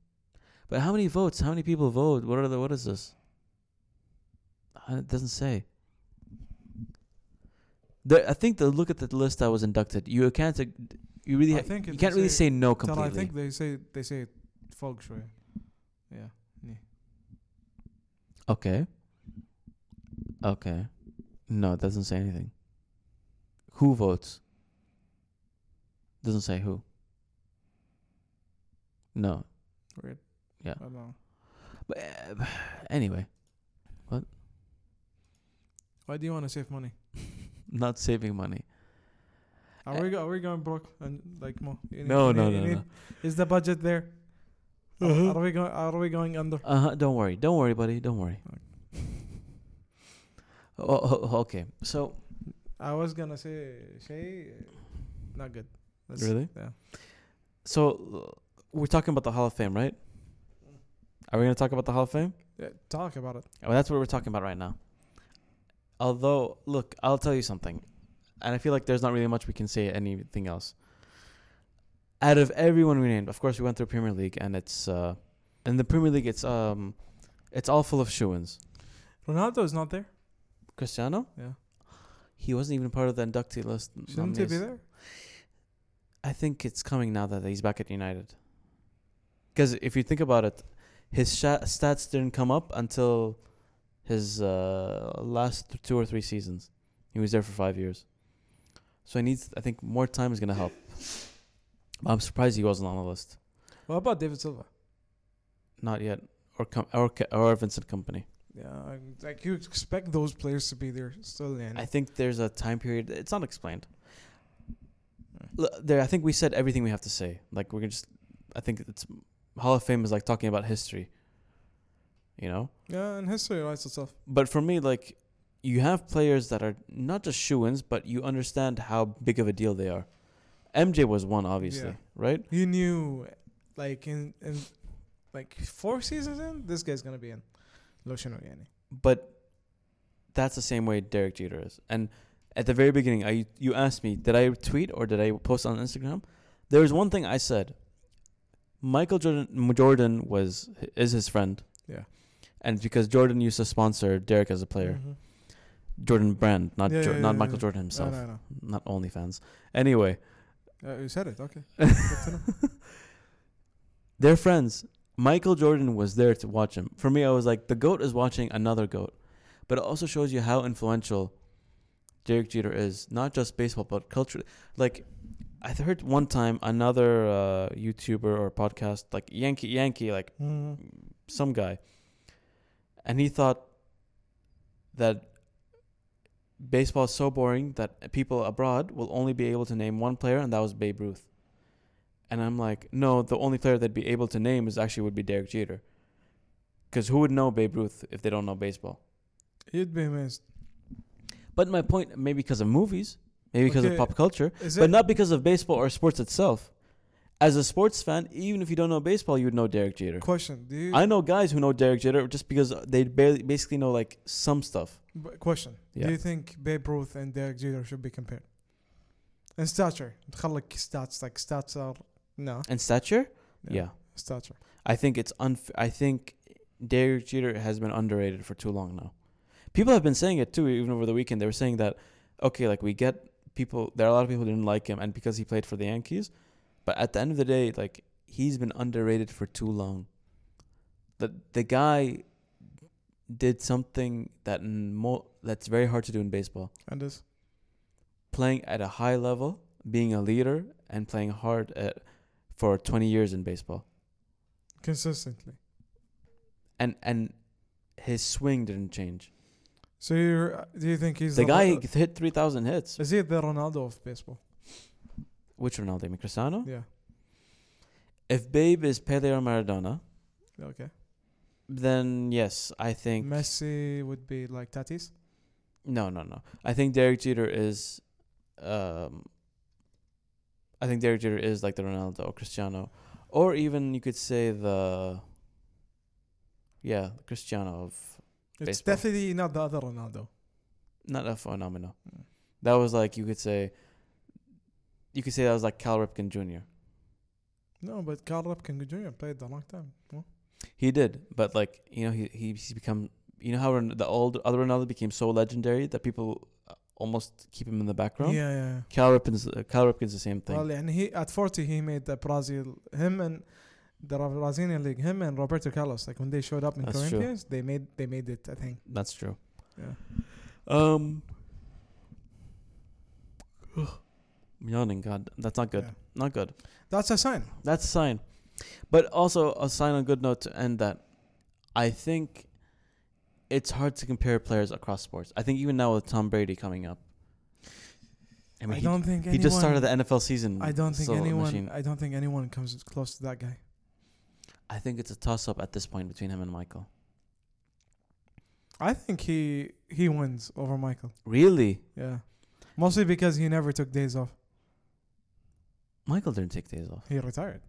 S1: But how many votes? How many people vote? What are the what is this? Uh, It doesn't say. The, I think the look at the list I was inducted. You can't. ag- You really.
S2: I
S1: ha-
S2: think
S1: you
S2: it
S1: can't
S2: was
S1: really
S2: a-
S1: say no
S2: Tell, I
S1: completely.
S2: think they say they say it feng shui. Yeah.
S1: okay. Okay. No, it doesn't say anything. Who votes? Doesn't say who. No.
S2: Weird.
S1: Yeah.
S2: I don't know.
S1: But, [sighs] uh, anyway,
S2: Why do you want to save money?
S1: not saving money.
S2: Are we go, are we going broke and like more? You need-
S1: Uh, No,
S2: you
S1: no,
S2: need-
S1: no,
S2: you
S1: no.
S2: need- Is the budget there? Are-
S1: Uh-huh.
S2: Are we going? Are we going under? [laughs]
S1: Uh huh. Don't worry. Don't worry, buddy. Don't worry. Oh, oh, oh, okay. So
S2: I was gonna say Shay, not good. That's-
S1: Really?
S2: Yeah.
S1: so uh, we're talking about the Hall of Fame, right? Are we gonna talk about the Hall of Fame?
S2: yeah. Talk about it.
S1: Well, that's what we're talking about right now. Although, look, I'll tell you something, and I feel like there's not really much we can say anything else. Out of everyone we named, of course, we went through Premier League, and it's uh, in the Premier League, it's um, it's all full of shoo-ins.
S2: Ronaldo is not there.
S1: Cristiano,
S2: Yeah.
S1: he wasn't even part of the inductee list.
S2: Shouldn't he be
S1: nominees.
S2: there?
S1: I think it's coming now that he's back at United. Because if you think about it, his sha stats didn't come up until his uh, last th- two or three seasons. He was there for five years, so he needs. I think more time is gonna help. But I'm surprised he wasn't on the list.
S2: What about David Silva?
S1: Not yet, or com- or Ca- or Vincent Company.
S2: Yeah, I- like you expect those players to be there still, and
S1: I think there's a time period. It's unexplained. L- there, I think we said everything we have to say. Like we're gonna just, I think it's Hall of Fame is like talking about history. You know,
S2: yeah, and history writes itself.
S1: but for me, like you have players that are not just shoo-ins, but you understand how big of a deal they are. MJ was one, obviously,
S2: Yeah.
S1: right?
S2: You knew, like in in like four seasons in, this guy's gonna be in. Lotion Organi.
S1: But that's the same way Derek Jeter is. And at the very beginning, I you asked me, did I tweet or did I post on Instagram? There was one thing I said. Michael Jordan, Jordan was is his friend.
S2: Yeah.
S1: And because Jordan used to sponsor Derek as a player,
S2: Mhm.
S1: Jordan Brand, not
S2: Yeah,
S1: Jo-
S2: yeah,
S1: not
S2: yeah,
S1: Michael
S2: yeah.
S1: Jordan himself,
S2: No, no,
S1: not OnlyFans. Anyway,
S2: no. Uh, you said it. Okay.
S1: they're friends. Michael Jordan was there to watch him. For me, I was like, the goat is watching another goat, but it also shows you how influential Derek Jeter is, not just baseball but culture. Like, I heard one time another uh, YouTuber or podcast, like Yankee Yankee, like
S2: Mhm.
S1: some guy, and he thought that baseball is so boring that people abroad will only be able to name one player, and that was Babe Ruth. And I'm like, no, the only player they'd be able to name is actually would be Derek Jeter, because who would know Babe Ruth if they don't know baseball?
S2: You'd be amazed.
S1: But my point, maybe because of movies, maybe because
S2: Okay.
S1: of pop culture,
S2: Is
S1: but
S2: it?
S1: not because of baseball or sports itself. As a sports fan, even if you don't know baseball, you would know Derek Jeter.
S2: Question. Do you?
S1: I know guys who know Derek Jeter just because they barely, basically know like some stuff.
S2: B- question.
S1: Yeah.
S2: Do you think Babe Ruth and Derek Jeter should be compared? In stature. خلك stats like stats are no.
S1: And stature, yeah.
S2: Stature.
S1: I think it's unf- I think Derek Jeter has been underrated for too long now. People have been saying it too, even over the weekend. They were saying that okay, like we get people. There are a lot of people who didn't like him, and because he played for the Yankees, but at the end of the day, like he's been underrated for too long. The the guy did something that n- mo- that's very hard to do in baseball.
S2: And this.
S1: playing at a high level, being a leader, and playing hard at, for 20 years in baseball.
S2: Consistently.
S1: And and his swing didn't change.
S2: So you do you think he's
S1: The guy
S2: Ro-
S1: hit 3,000 hits.
S2: Is he the Ronaldo of baseball?
S1: Which Ronaldo? I mean, Cristiano?
S2: Yeah.
S1: If Babe is Pele or Maradona,
S2: Okay.
S1: then yes, I think.
S2: Messi would be like Tatis.
S1: No, no, no. I think Derek Jeter is. Um, I think Derek Jeter is like the Ronaldo or Cristiano, or even you could say the. Yeah, Cristiano of
S2: It's
S1: Baseball.
S2: definitely not the other Ronaldo.
S1: not a phenomenon.
S2: Mm.
S1: That was like you could say. You could say that was like Cal Ripken Jr.
S2: No, but Carl Ripken Jr. played a long time. No?
S1: He did, but like you know, he, he he's become. You know how Ron- the old other Ronaldo became so legendary that people uh, almost keep him in the
S2: Yeah,
S1: background.
S2: yeah. yeah.
S1: Cal Ripken's uh, Cal Ripken's the same thing.
S2: Well, and he at 40 he made the Brazil him and the Ra- Brazilian league him and Roberto Carlos like when they showed up in
S1: That's true.
S2: Corinthians they made they made it I think.
S1: That's true.
S2: Yeah.
S1: Um. [sighs] I'm yawning. God, that's not good.
S2: Yeah.
S1: Not good.
S2: That's a sign.
S1: That's a sign. But also a sign on good note to end that. I think it's hard to compare players across sports. I think even now with Tom Brady coming up. I
S2: I,
S1: mean, he,
S2: don't think
S1: he
S2: anyone,
S1: just started the NFL season.
S2: I don't think
S1: so,
S2: anyone
S1: machine.
S2: I don't think anyone comes close to that guy.
S1: I think it's a toss up at this point between him and Michael.
S2: I think he he wins over Michael.
S1: Really,
S2: Yeah. Mostly because he never took days off.
S1: Michael didn't take days off.
S2: He retired.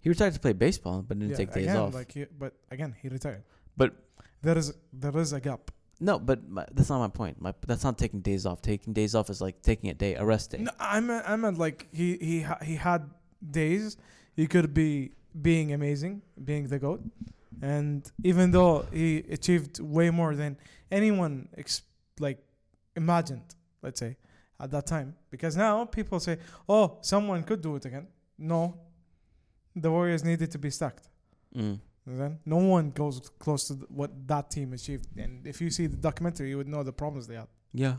S1: He retired to play baseball, but didn't
S2: yeah,
S1: take days
S2: again,
S1: off.
S2: Like he, but again, he retired.
S1: But-
S2: there is there is a gap.
S1: No, but my, that's not my point. My that's not taking days off. Taking days off is like taking a day, a rest day.
S2: No, I meant I meant like he he ha- he had days. He could be being amazing, being the goat, and even though he achieved way more than anyone ex- like imagined, let's say at that time, because now people say, "Oh, someone could do it again." No, the Warriors needed to be stacked.
S1: Mm.
S2: Then no one goes close to th- what that team achieved, and if you see the documentary, you would know the problems they had.
S1: Yeah,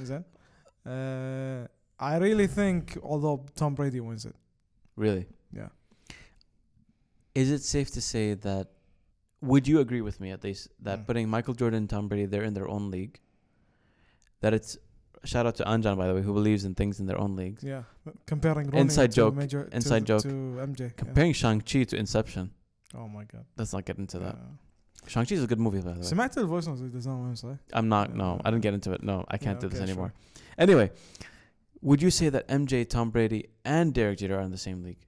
S2: Then, uh, I really think, although Tom Brady wins it,
S1: really.
S2: Yeah.
S1: Is it safe to say that? Would you agree with me at least that
S2: Mm.
S1: putting Michael Jordan and Tom Brady, they're in their own league. That it's shout out to Anjan by the way, who believes in things in their own leagues.
S2: yeah, comparing Ronnie
S1: Inside
S2: to
S1: joke.
S2: Major, to-
S1: Inside joke.
S2: to MJ. yeah.
S1: Comparing Shang Chi to Inception.
S2: Oh my god. Uh,
S1: Let's not get into that.
S2: Yeah.
S1: Shang Chi is a good movie by the way.
S2: سمعت الفويس نوتس اللي دزناهم امس صح؟
S1: I'm not. No,
S2: Yeah.
S1: I didn't get into it. No, I can't do
S2: Yeah,
S1: this
S2: okay,
S1: anymore. Anyway, would you say that MJ, Tom Brady, and Derek Jeter are in the same league?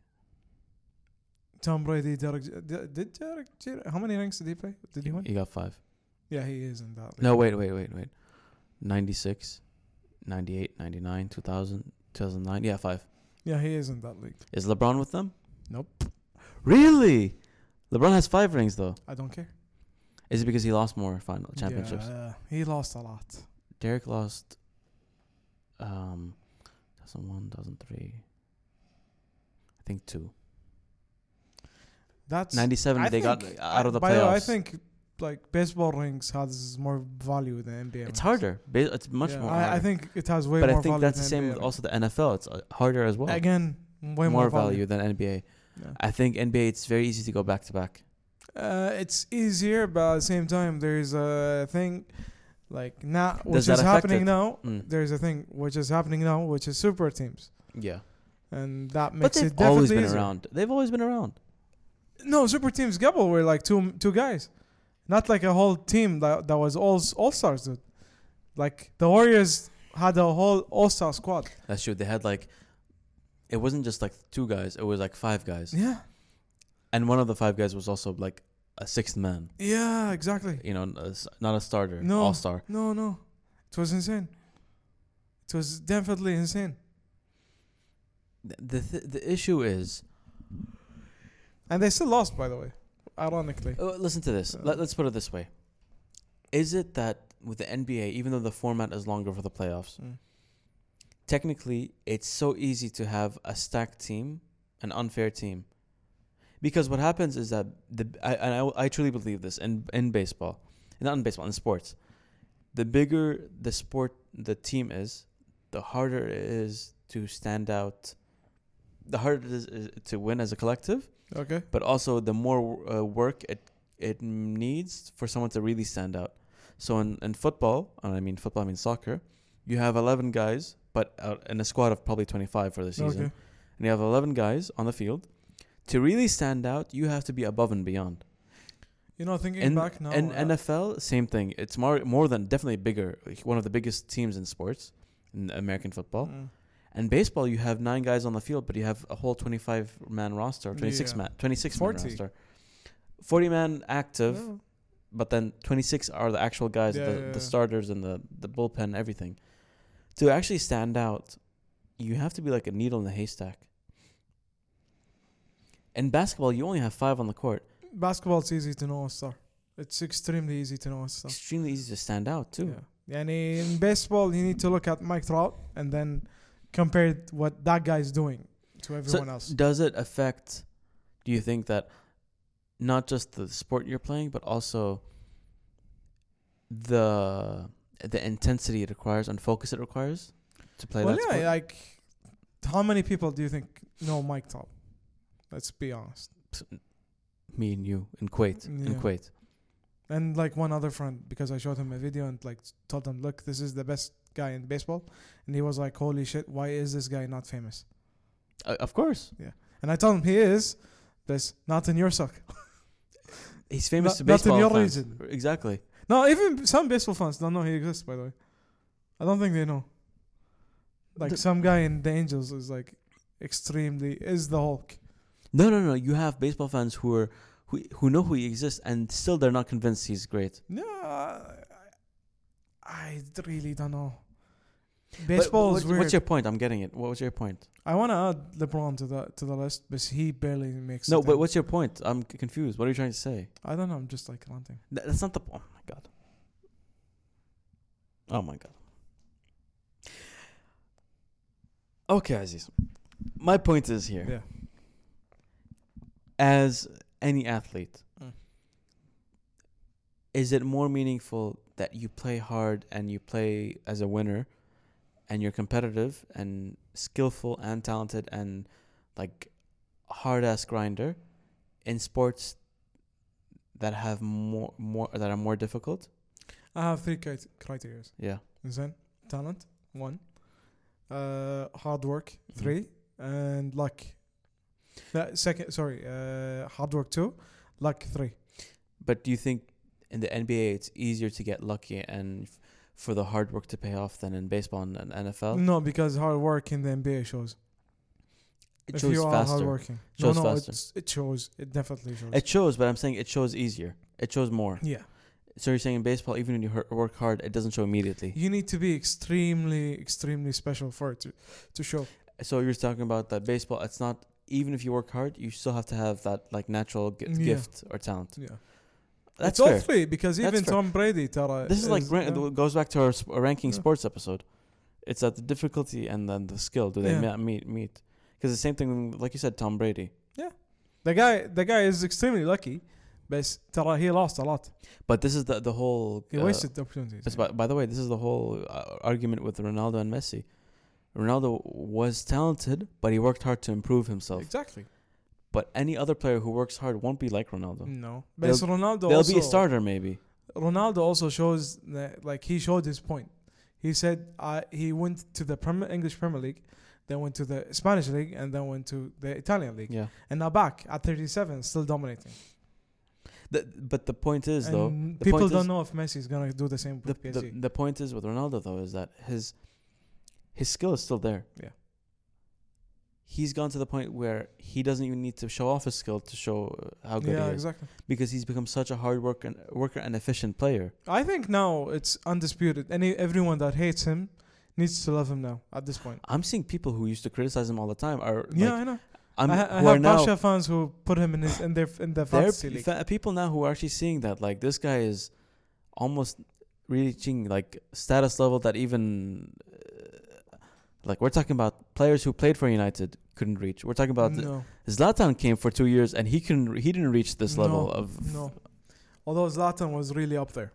S2: Tom Brady, Derek, J- did Derek, Jeter- how many rings did he play? Did he win?
S1: You got five.
S2: Yeah, he is in that.
S1: No, wait, wait, wait, wait. 96, 98, 99, 2000, 2009. Yeah, five.
S2: Yeah, he is in that league.
S1: Is LeBron with them?
S2: Nope.
S1: Really? LeBron has five rings though.
S2: I don't care.
S1: Is it because he lost more final championships?
S2: Yeah, he lost a lot.
S1: Derek lost. Um, 2001, 2003. I think two.
S2: That's
S1: 97.
S2: I
S1: they got
S2: think-
S1: out of the
S2: by way,
S1: playoffs.
S2: I think like baseball rings has more value than NBA.
S1: It's
S2: rings.
S1: harder. Ba- It's much
S2: Yeah,
S1: more.
S2: I, I
S1: harder.
S2: think it has way
S1: but
S2: more
S1: I think
S2: value
S1: that's the
S2: than
S1: same
S2: NBA
S1: with
S2: rings.
S1: also the NFL. It's uh, harder as well.
S2: Again,
S1: more,
S2: way more,
S1: value than NBA.
S2: Yeah.
S1: I think NBA it's very easy to go back to back.
S2: Uh, it's easier, but at the same time, there's a thing like now, which
S1: that
S2: is
S1: affect
S2: happening
S1: it?
S2: now.
S1: Mm.
S2: There's a thing which is happening now, which is super teams,
S1: Yeah,
S2: and that
S1: but
S2: makes
S1: they've
S2: it definitely
S1: always been
S2: easier.
S1: around. They've always been around.
S2: No, super teams Gabble were like two two guys, not like a whole team that that was all all stars, dude. Like the Warriors had a whole all star squad.
S1: That's true. They had like, it wasn't just like two guys. It was like five guys,
S2: Yeah,
S1: and one of the five guys was also like a sixth man.
S2: yeah, exactly.
S1: You know, n- a s- not a starter,
S2: No.
S1: all star.
S2: No, no. It was insane. It was definitely insane.
S1: The th- the issue is,
S2: And they still lost, by the way. Ironically.
S1: oh, listen to this.
S2: Uh.
S1: Let, let's put it this way: Is it that with the NBA, even though the format is longer for the playoffs,
S2: Mm.
S1: technically it's so easy to have a stacked team, an unfair team, because what happens is that the I and I, I truly believe this in in baseball, not in baseball in sports, the bigger the sport the team is, the harder it is to stand out, the harder it is, is to win as a collective,
S2: Okay.
S1: but also the more uh, work it it needs for someone to really stand out. So in, in football, and I mean football, I mean soccer, you have 11 guys, but uh, in a squad of probably 25 for the season.
S2: Okay.
S1: And you have 11 guys on the field. To really stand out, you have to be above and beyond.
S2: You know, thinking
S1: In,
S2: back now.
S1: in
S2: uh,
S1: NFL, same thing. It's more, more than definitely bigger, like one of the biggest teams in sports, in American football.
S2: mm.
S1: And baseball, you have nine guys on the field, but you have a whole 25 man roster, 26
S2: Yeah.
S1: man, 26 man
S2: 40.
S1: roster. 40 man active,
S2: Yeah.
S1: but then 26 are the actual guys,
S2: Oh. Yeah,
S1: the,
S2: yeah, yeah.
S1: the starters and the, the bullpen, everything. To actually stand out, you have to be like a needle in a haystack. In basketball, you only have five on the court.
S2: Basketball's easy to know a star. It's extremely easy to know a star.
S1: Extremely easy to stand out, too.
S2: Yeah. And in baseball, you need to look at Mike Trout and then compare what that guy's doing to everyone else.
S1: Does it affect, do you think that not just the sport you're playing, but also the the intensity it requires and focus it requires to play
S2: well,
S1: that
S2: yeah,
S1: sport?
S2: like how many people do you think know Mike Trout? Let's be honest.
S1: Me and you in Kuwait. In
S2: Yeah.
S1: Kuwait.
S2: And like one other friend, because I showed him a video and like told him, look, this is the best guy in baseball, and he was like, holy shit, why is this guy not famous?
S1: Uh, of course.
S2: And I told him he is, but not in your sock. [laughs]
S1: He's famous
S2: Not-
S1: to
S2: not in
S1: baseball
S2: your
S1: fans.
S2: region.
S1: Exactly.
S2: No, even some baseball fans don't know he exists. By the way, I don't think they know. Like
S1: The-
S2: some guy in the Angels is like extremely is the Hulk.
S1: No, no, no. You have baseball fans who are who who know who he exists and still they're not convinced he's great.
S2: No, I, I really don't know. Baseball
S1: But
S2: is
S1: what-
S2: weird.
S1: What's your point? I'm getting it. What was your point?
S2: I want to add LeBron to the to the list, but he barely makes.
S1: No,
S2: it
S1: but
S2: in.
S1: what's your point? I'm c- confused. What are you trying to say?
S2: I don't know. I'm just like ranting.
S1: Th- That's not the. Oh my god. Oh my god. Okay, Aziz. My point is here.
S2: Yeah.
S1: As any athlete,
S2: Mm.
S1: is it more meaningful that you play hard and you play as a winner, and you're competitive and skillful and talented and like hard ass grinder, in sports that have more more that are more difficult?
S2: I have three crit- criteria.
S1: Yeah.
S2: Then talent one, uh, hard work
S1: Mm-hmm.
S2: 3 and luck. That second, sorry, uh, hard work two, luck three.
S1: But do you think in the NBA it's easier to get lucky and f- for the hard work to pay off than in baseball and, and NFL?
S2: No, because hard work in the NBA shows.
S1: It
S2: if
S1: shows
S2: you are
S1: faster.
S2: hardworking,
S1: Shows
S2: no, no,
S1: faster.
S2: It's, it shows. It definitely shows.
S1: It shows, but I'm saying it shows easier. It shows more.
S2: yeah,
S1: So you're saying in baseball, even when you hur- work hard, it doesn't show immediately.
S2: you need to be extremely, extremely special for it to, to show.
S1: So you're talking about that baseball. It's not even if you work hard, you still have to have that like natural g-
S2: Yeah.
S1: gift or talent.
S2: Yeah,
S1: That's
S2: it's all
S1: fair.
S2: three because
S1: That's
S2: even
S1: fair.
S2: Tom Brady. Tara,
S1: This is like rank,
S2: yeah.
S1: goes back to our sp- our ranking
S2: Yeah.
S1: sports episode. It's at the difficulty and then the skill. Do they
S2: Yeah.
S1: ma- meet meet? Because the same thing, like you said, Tom Brady.
S2: the guy. The guy is extremely lucky, but Tara, he lost a lot.
S1: But this is the the whole.
S2: He
S1: uh,
S2: wasted the opportunities.
S1: it's by, by the way, this is the whole uh, argument with Ronaldo and Messi. Ronaldo was talented, but he worked hard to improve himself.
S2: Exactly.
S1: But any other player who works hard won't be like Ronaldo.
S2: No, but
S1: They'll-
S2: it's Ronaldo.
S1: They'll
S2: Mm. also,
S1: be a starter maybe.
S2: Ronaldo also shows that, like he showed his point. He said uh, he went to the Premier, English Premier League, then went to the Spanish league, and then went to the Italian league,
S1: Yeah.
S2: and now back at 37, still dominating.
S1: The, but the point is though,
S2: And
S1: the
S2: people
S1: point
S2: don't
S1: is-
S2: know if Messi is gonna do the same
S1: the,
S2: with
S1: the
S2: PSG.
S1: the point is with Ronaldo though is that his his skill is still there.
S2: Yeah.
S1: He's gone to the point where he doesn't even need to show off his skill to show uh, how good
S2: yeah,
S1: he is
S2: exactly.
S1: because he's become such a hard worker and, worker and efficient player.
S2: I think now it's undisputed. Any everyone that hates him needs to love him now at this point.
S1: I'm seeing people who used to criticize him all the time are
S2: yeah,
S1: like
S2: I know.
S1: I'm
S2: I, ha- I
S1: who are
S2: have
S1: now
S2: Barca fans who put him in his in their in
S1: there
S2: the
S1: are
S2: fantasy league.
S1: fa- people now who are actually seeing that like this guy is almost reaching like status level that even uh, like we're talking about players who played for United couldn't reach. We're talking about
S2: no.
S1: Zlatan came for two years and he couldn't re- he didn't reach this level
S2: No,
S1: of
S2: No. Although Zlatan was really up there.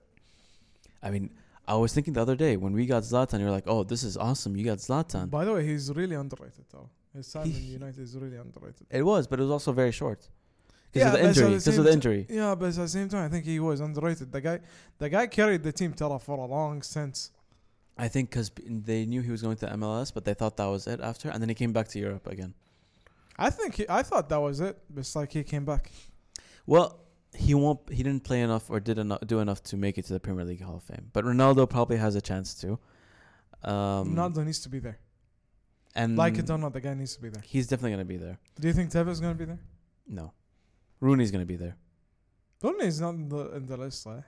S1: I mean I was thinking the other day when we got Zlatan you're like oh this is awesome you got Zlatan
S2: By the way, he's really underrated though. His time in
S1: He-
S2: United is really underrated.
S1: it was but it was also very short because of
S2: Yeah,
S1: the
S2: but it's at
S1: injury.
S2: the
S1: Because
S2: same
S1: of the
S2: ti-
S1: injury.
S2: Yeah, but at the same time, I think he was underrated. The guy, the guy carried the team Tara for a long sense.
S1: I think because they knew he was going to MLS, but they thought that was it after, and then he came back to Europe again.
S2: I think he, I thought that was it. But it's like he came back.
S1: Well, he won't. He didn't play enough or did enough, do enough to make it to the Premier League Hall of Fame. But Ronaldo probably has a chance to. Um, mm.
S2: Ronaldo needs to be there.
S1: and
S2: Like it or not, the guy needs to be there.
S1: he's definitely gonna be there.
S2: Do you think Tevez is gonna be there?
S1: No, Rooney's gonna be there.
S2: Rooney is not in the in the list. eh?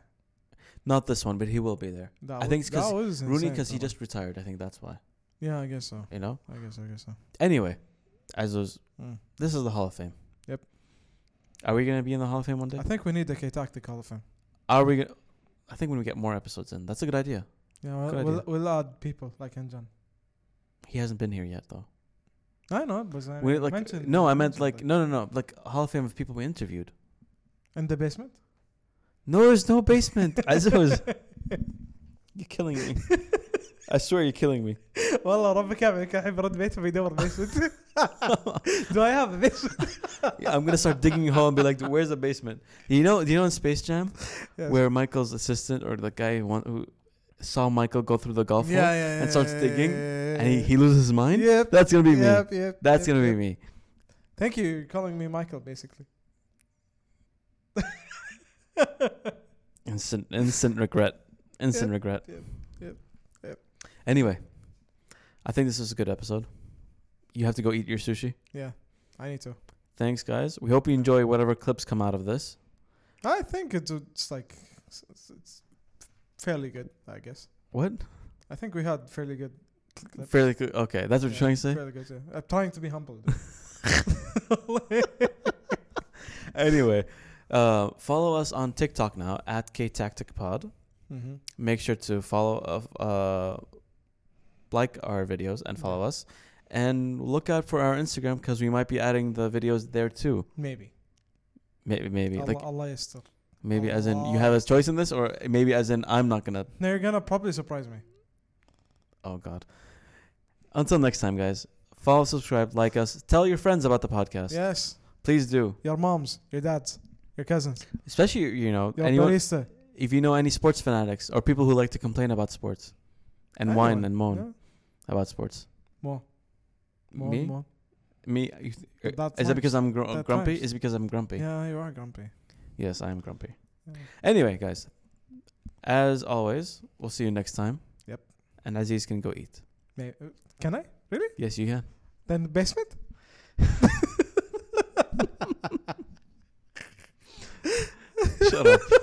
S1: Not this one, but he will be there.
S2: That
S1: I
S2: was-
S1: think it's 'cause
S2: that was
S1: Rooney
S2: insane,
S1: because he
S2: Tara.
S1: just retired. I think that's why.
S2: Yeah, I guess so.
S1: You know.
S2: I guess I guess so.
S1: Anyway, as those,
S2: Mm.
S1: this is the Hall of Fame.
S2: Yep.
S1: Are we gonna be in the Hall of Fame one day?
S2: I think we need a K tactic Hall of Fame.
S1: Are we gonna? I think when we get more episodes in, that's a good idea.
S2: Yeah, we'll,
S1: Good
S2: we'll,
S1: idea.
S2: we'll add people like Anjan.
S1: He hasn't been here yet, though.
S2: I know, but uh, I
S1: We, like,
S2: mentioned
S1: no, I meant
S2: mentioned
S1: like no, no, no, like Hall of Fame of people we interviewed.
S2: in the basement.
S1: No, there's no [laughs] basement. As it
S2: [laughs]
S1: was, you're killing me. [laughs] I swear, you're killing
S2: [laughs]
S1: me.
S2: والله ربي كامل كان الحين برد بيته بيدور بيسمنت [laughs] Do I have a basement?
S1: Yeah, I'm gonna start digging a hole and be like, "Where's the basement?" You know, do you know in Space Jam
S2: Yes.
S1: where Michael's assistant or the guy who, want, who saw Michael go through the golf hole
S2: yeah,
S1: and starts digging,
S2: yeah,
S1: and he,
S2: yeah.
S1: he loses his mind?
S2: Yep.
S1: That's gonna be me.
S2: yep, Yep,
S1: That's
S2: yep,
S1: gonna be
S2: yep.
S1: me.
S2: Thank you for calling me Michael, basically. [laughs]
S1: Instant, instant
S2: [laughs]
S1: regret. Instant regret.
S2: yep, yep, yep.
S1: Anyway, I think this is a good episode. You have to go eat your sushi.
S2: yeah, I need to.
S1: Thanks, guys. We hope you enjoy whatever clips come out of this.
S2: I think it's, it's like it's, it's- it's fairly good, I guess.
S1: What?
S2: I think we had fairly good. clips.
S1: Fairly good. Okay, that's what you're
S2: Yeah,
S1: trying to say.
S2: fairly good, yeah. I'm trying to be humble.
S1: [laughs] anyway, uh, follow us on TikTok now at K Tactic Pod.
S2: mm-hmm.
S1: Make sure to follow, uh, uh, like our videos and follow us, and look out for our Instagram because we might be adding the videos there too.
S2: Maybe.
S1: Maybe, maybe
S2: Allah,
S1: like
S2: Allah yastir.
S1: maybe as in you have a choice in this, or maybe as in I'm not gonna.
S2: They're gonna probably surprise me.
S1: Oh God. Until next time, guys. Follow, subscribe, like us. Tell your friends about the podcast.
S2: Yes,
S1: Please do,
S2: your moms, your dads, your cousins,
S1: especially you know
S2: your
S1: anyone.
S2: barista.
S1: if you know any sports fanatics or people who like to complain about sports and whine
S2: Anyone.
S1: and moan
S2: Yeah.
S1: about sports.
S2: More. More,
S1: me?
S2: more.
S1: Me? you-
S2: But that
S1: Is
S2: rhymes.
S1: that because I'm gr-
S2: That
S1: grumpy?
S2: rhymes.
S1: Is because I'm grumpy.
S2: Yeah, you are grumpy.
S1: Yes, I am grumpy.
S2: Yeah.
S1: Anyway, guys, as always, we'll see you next time.
S2: Yep.
S1: And Aziz can go
S2: [laughs]
S1: eat.
S2: May- uh, Can I? Really?
S1: Yes, you
S2: [laughs]
S1: can.
S2: Then the basement?
S1: Shut up.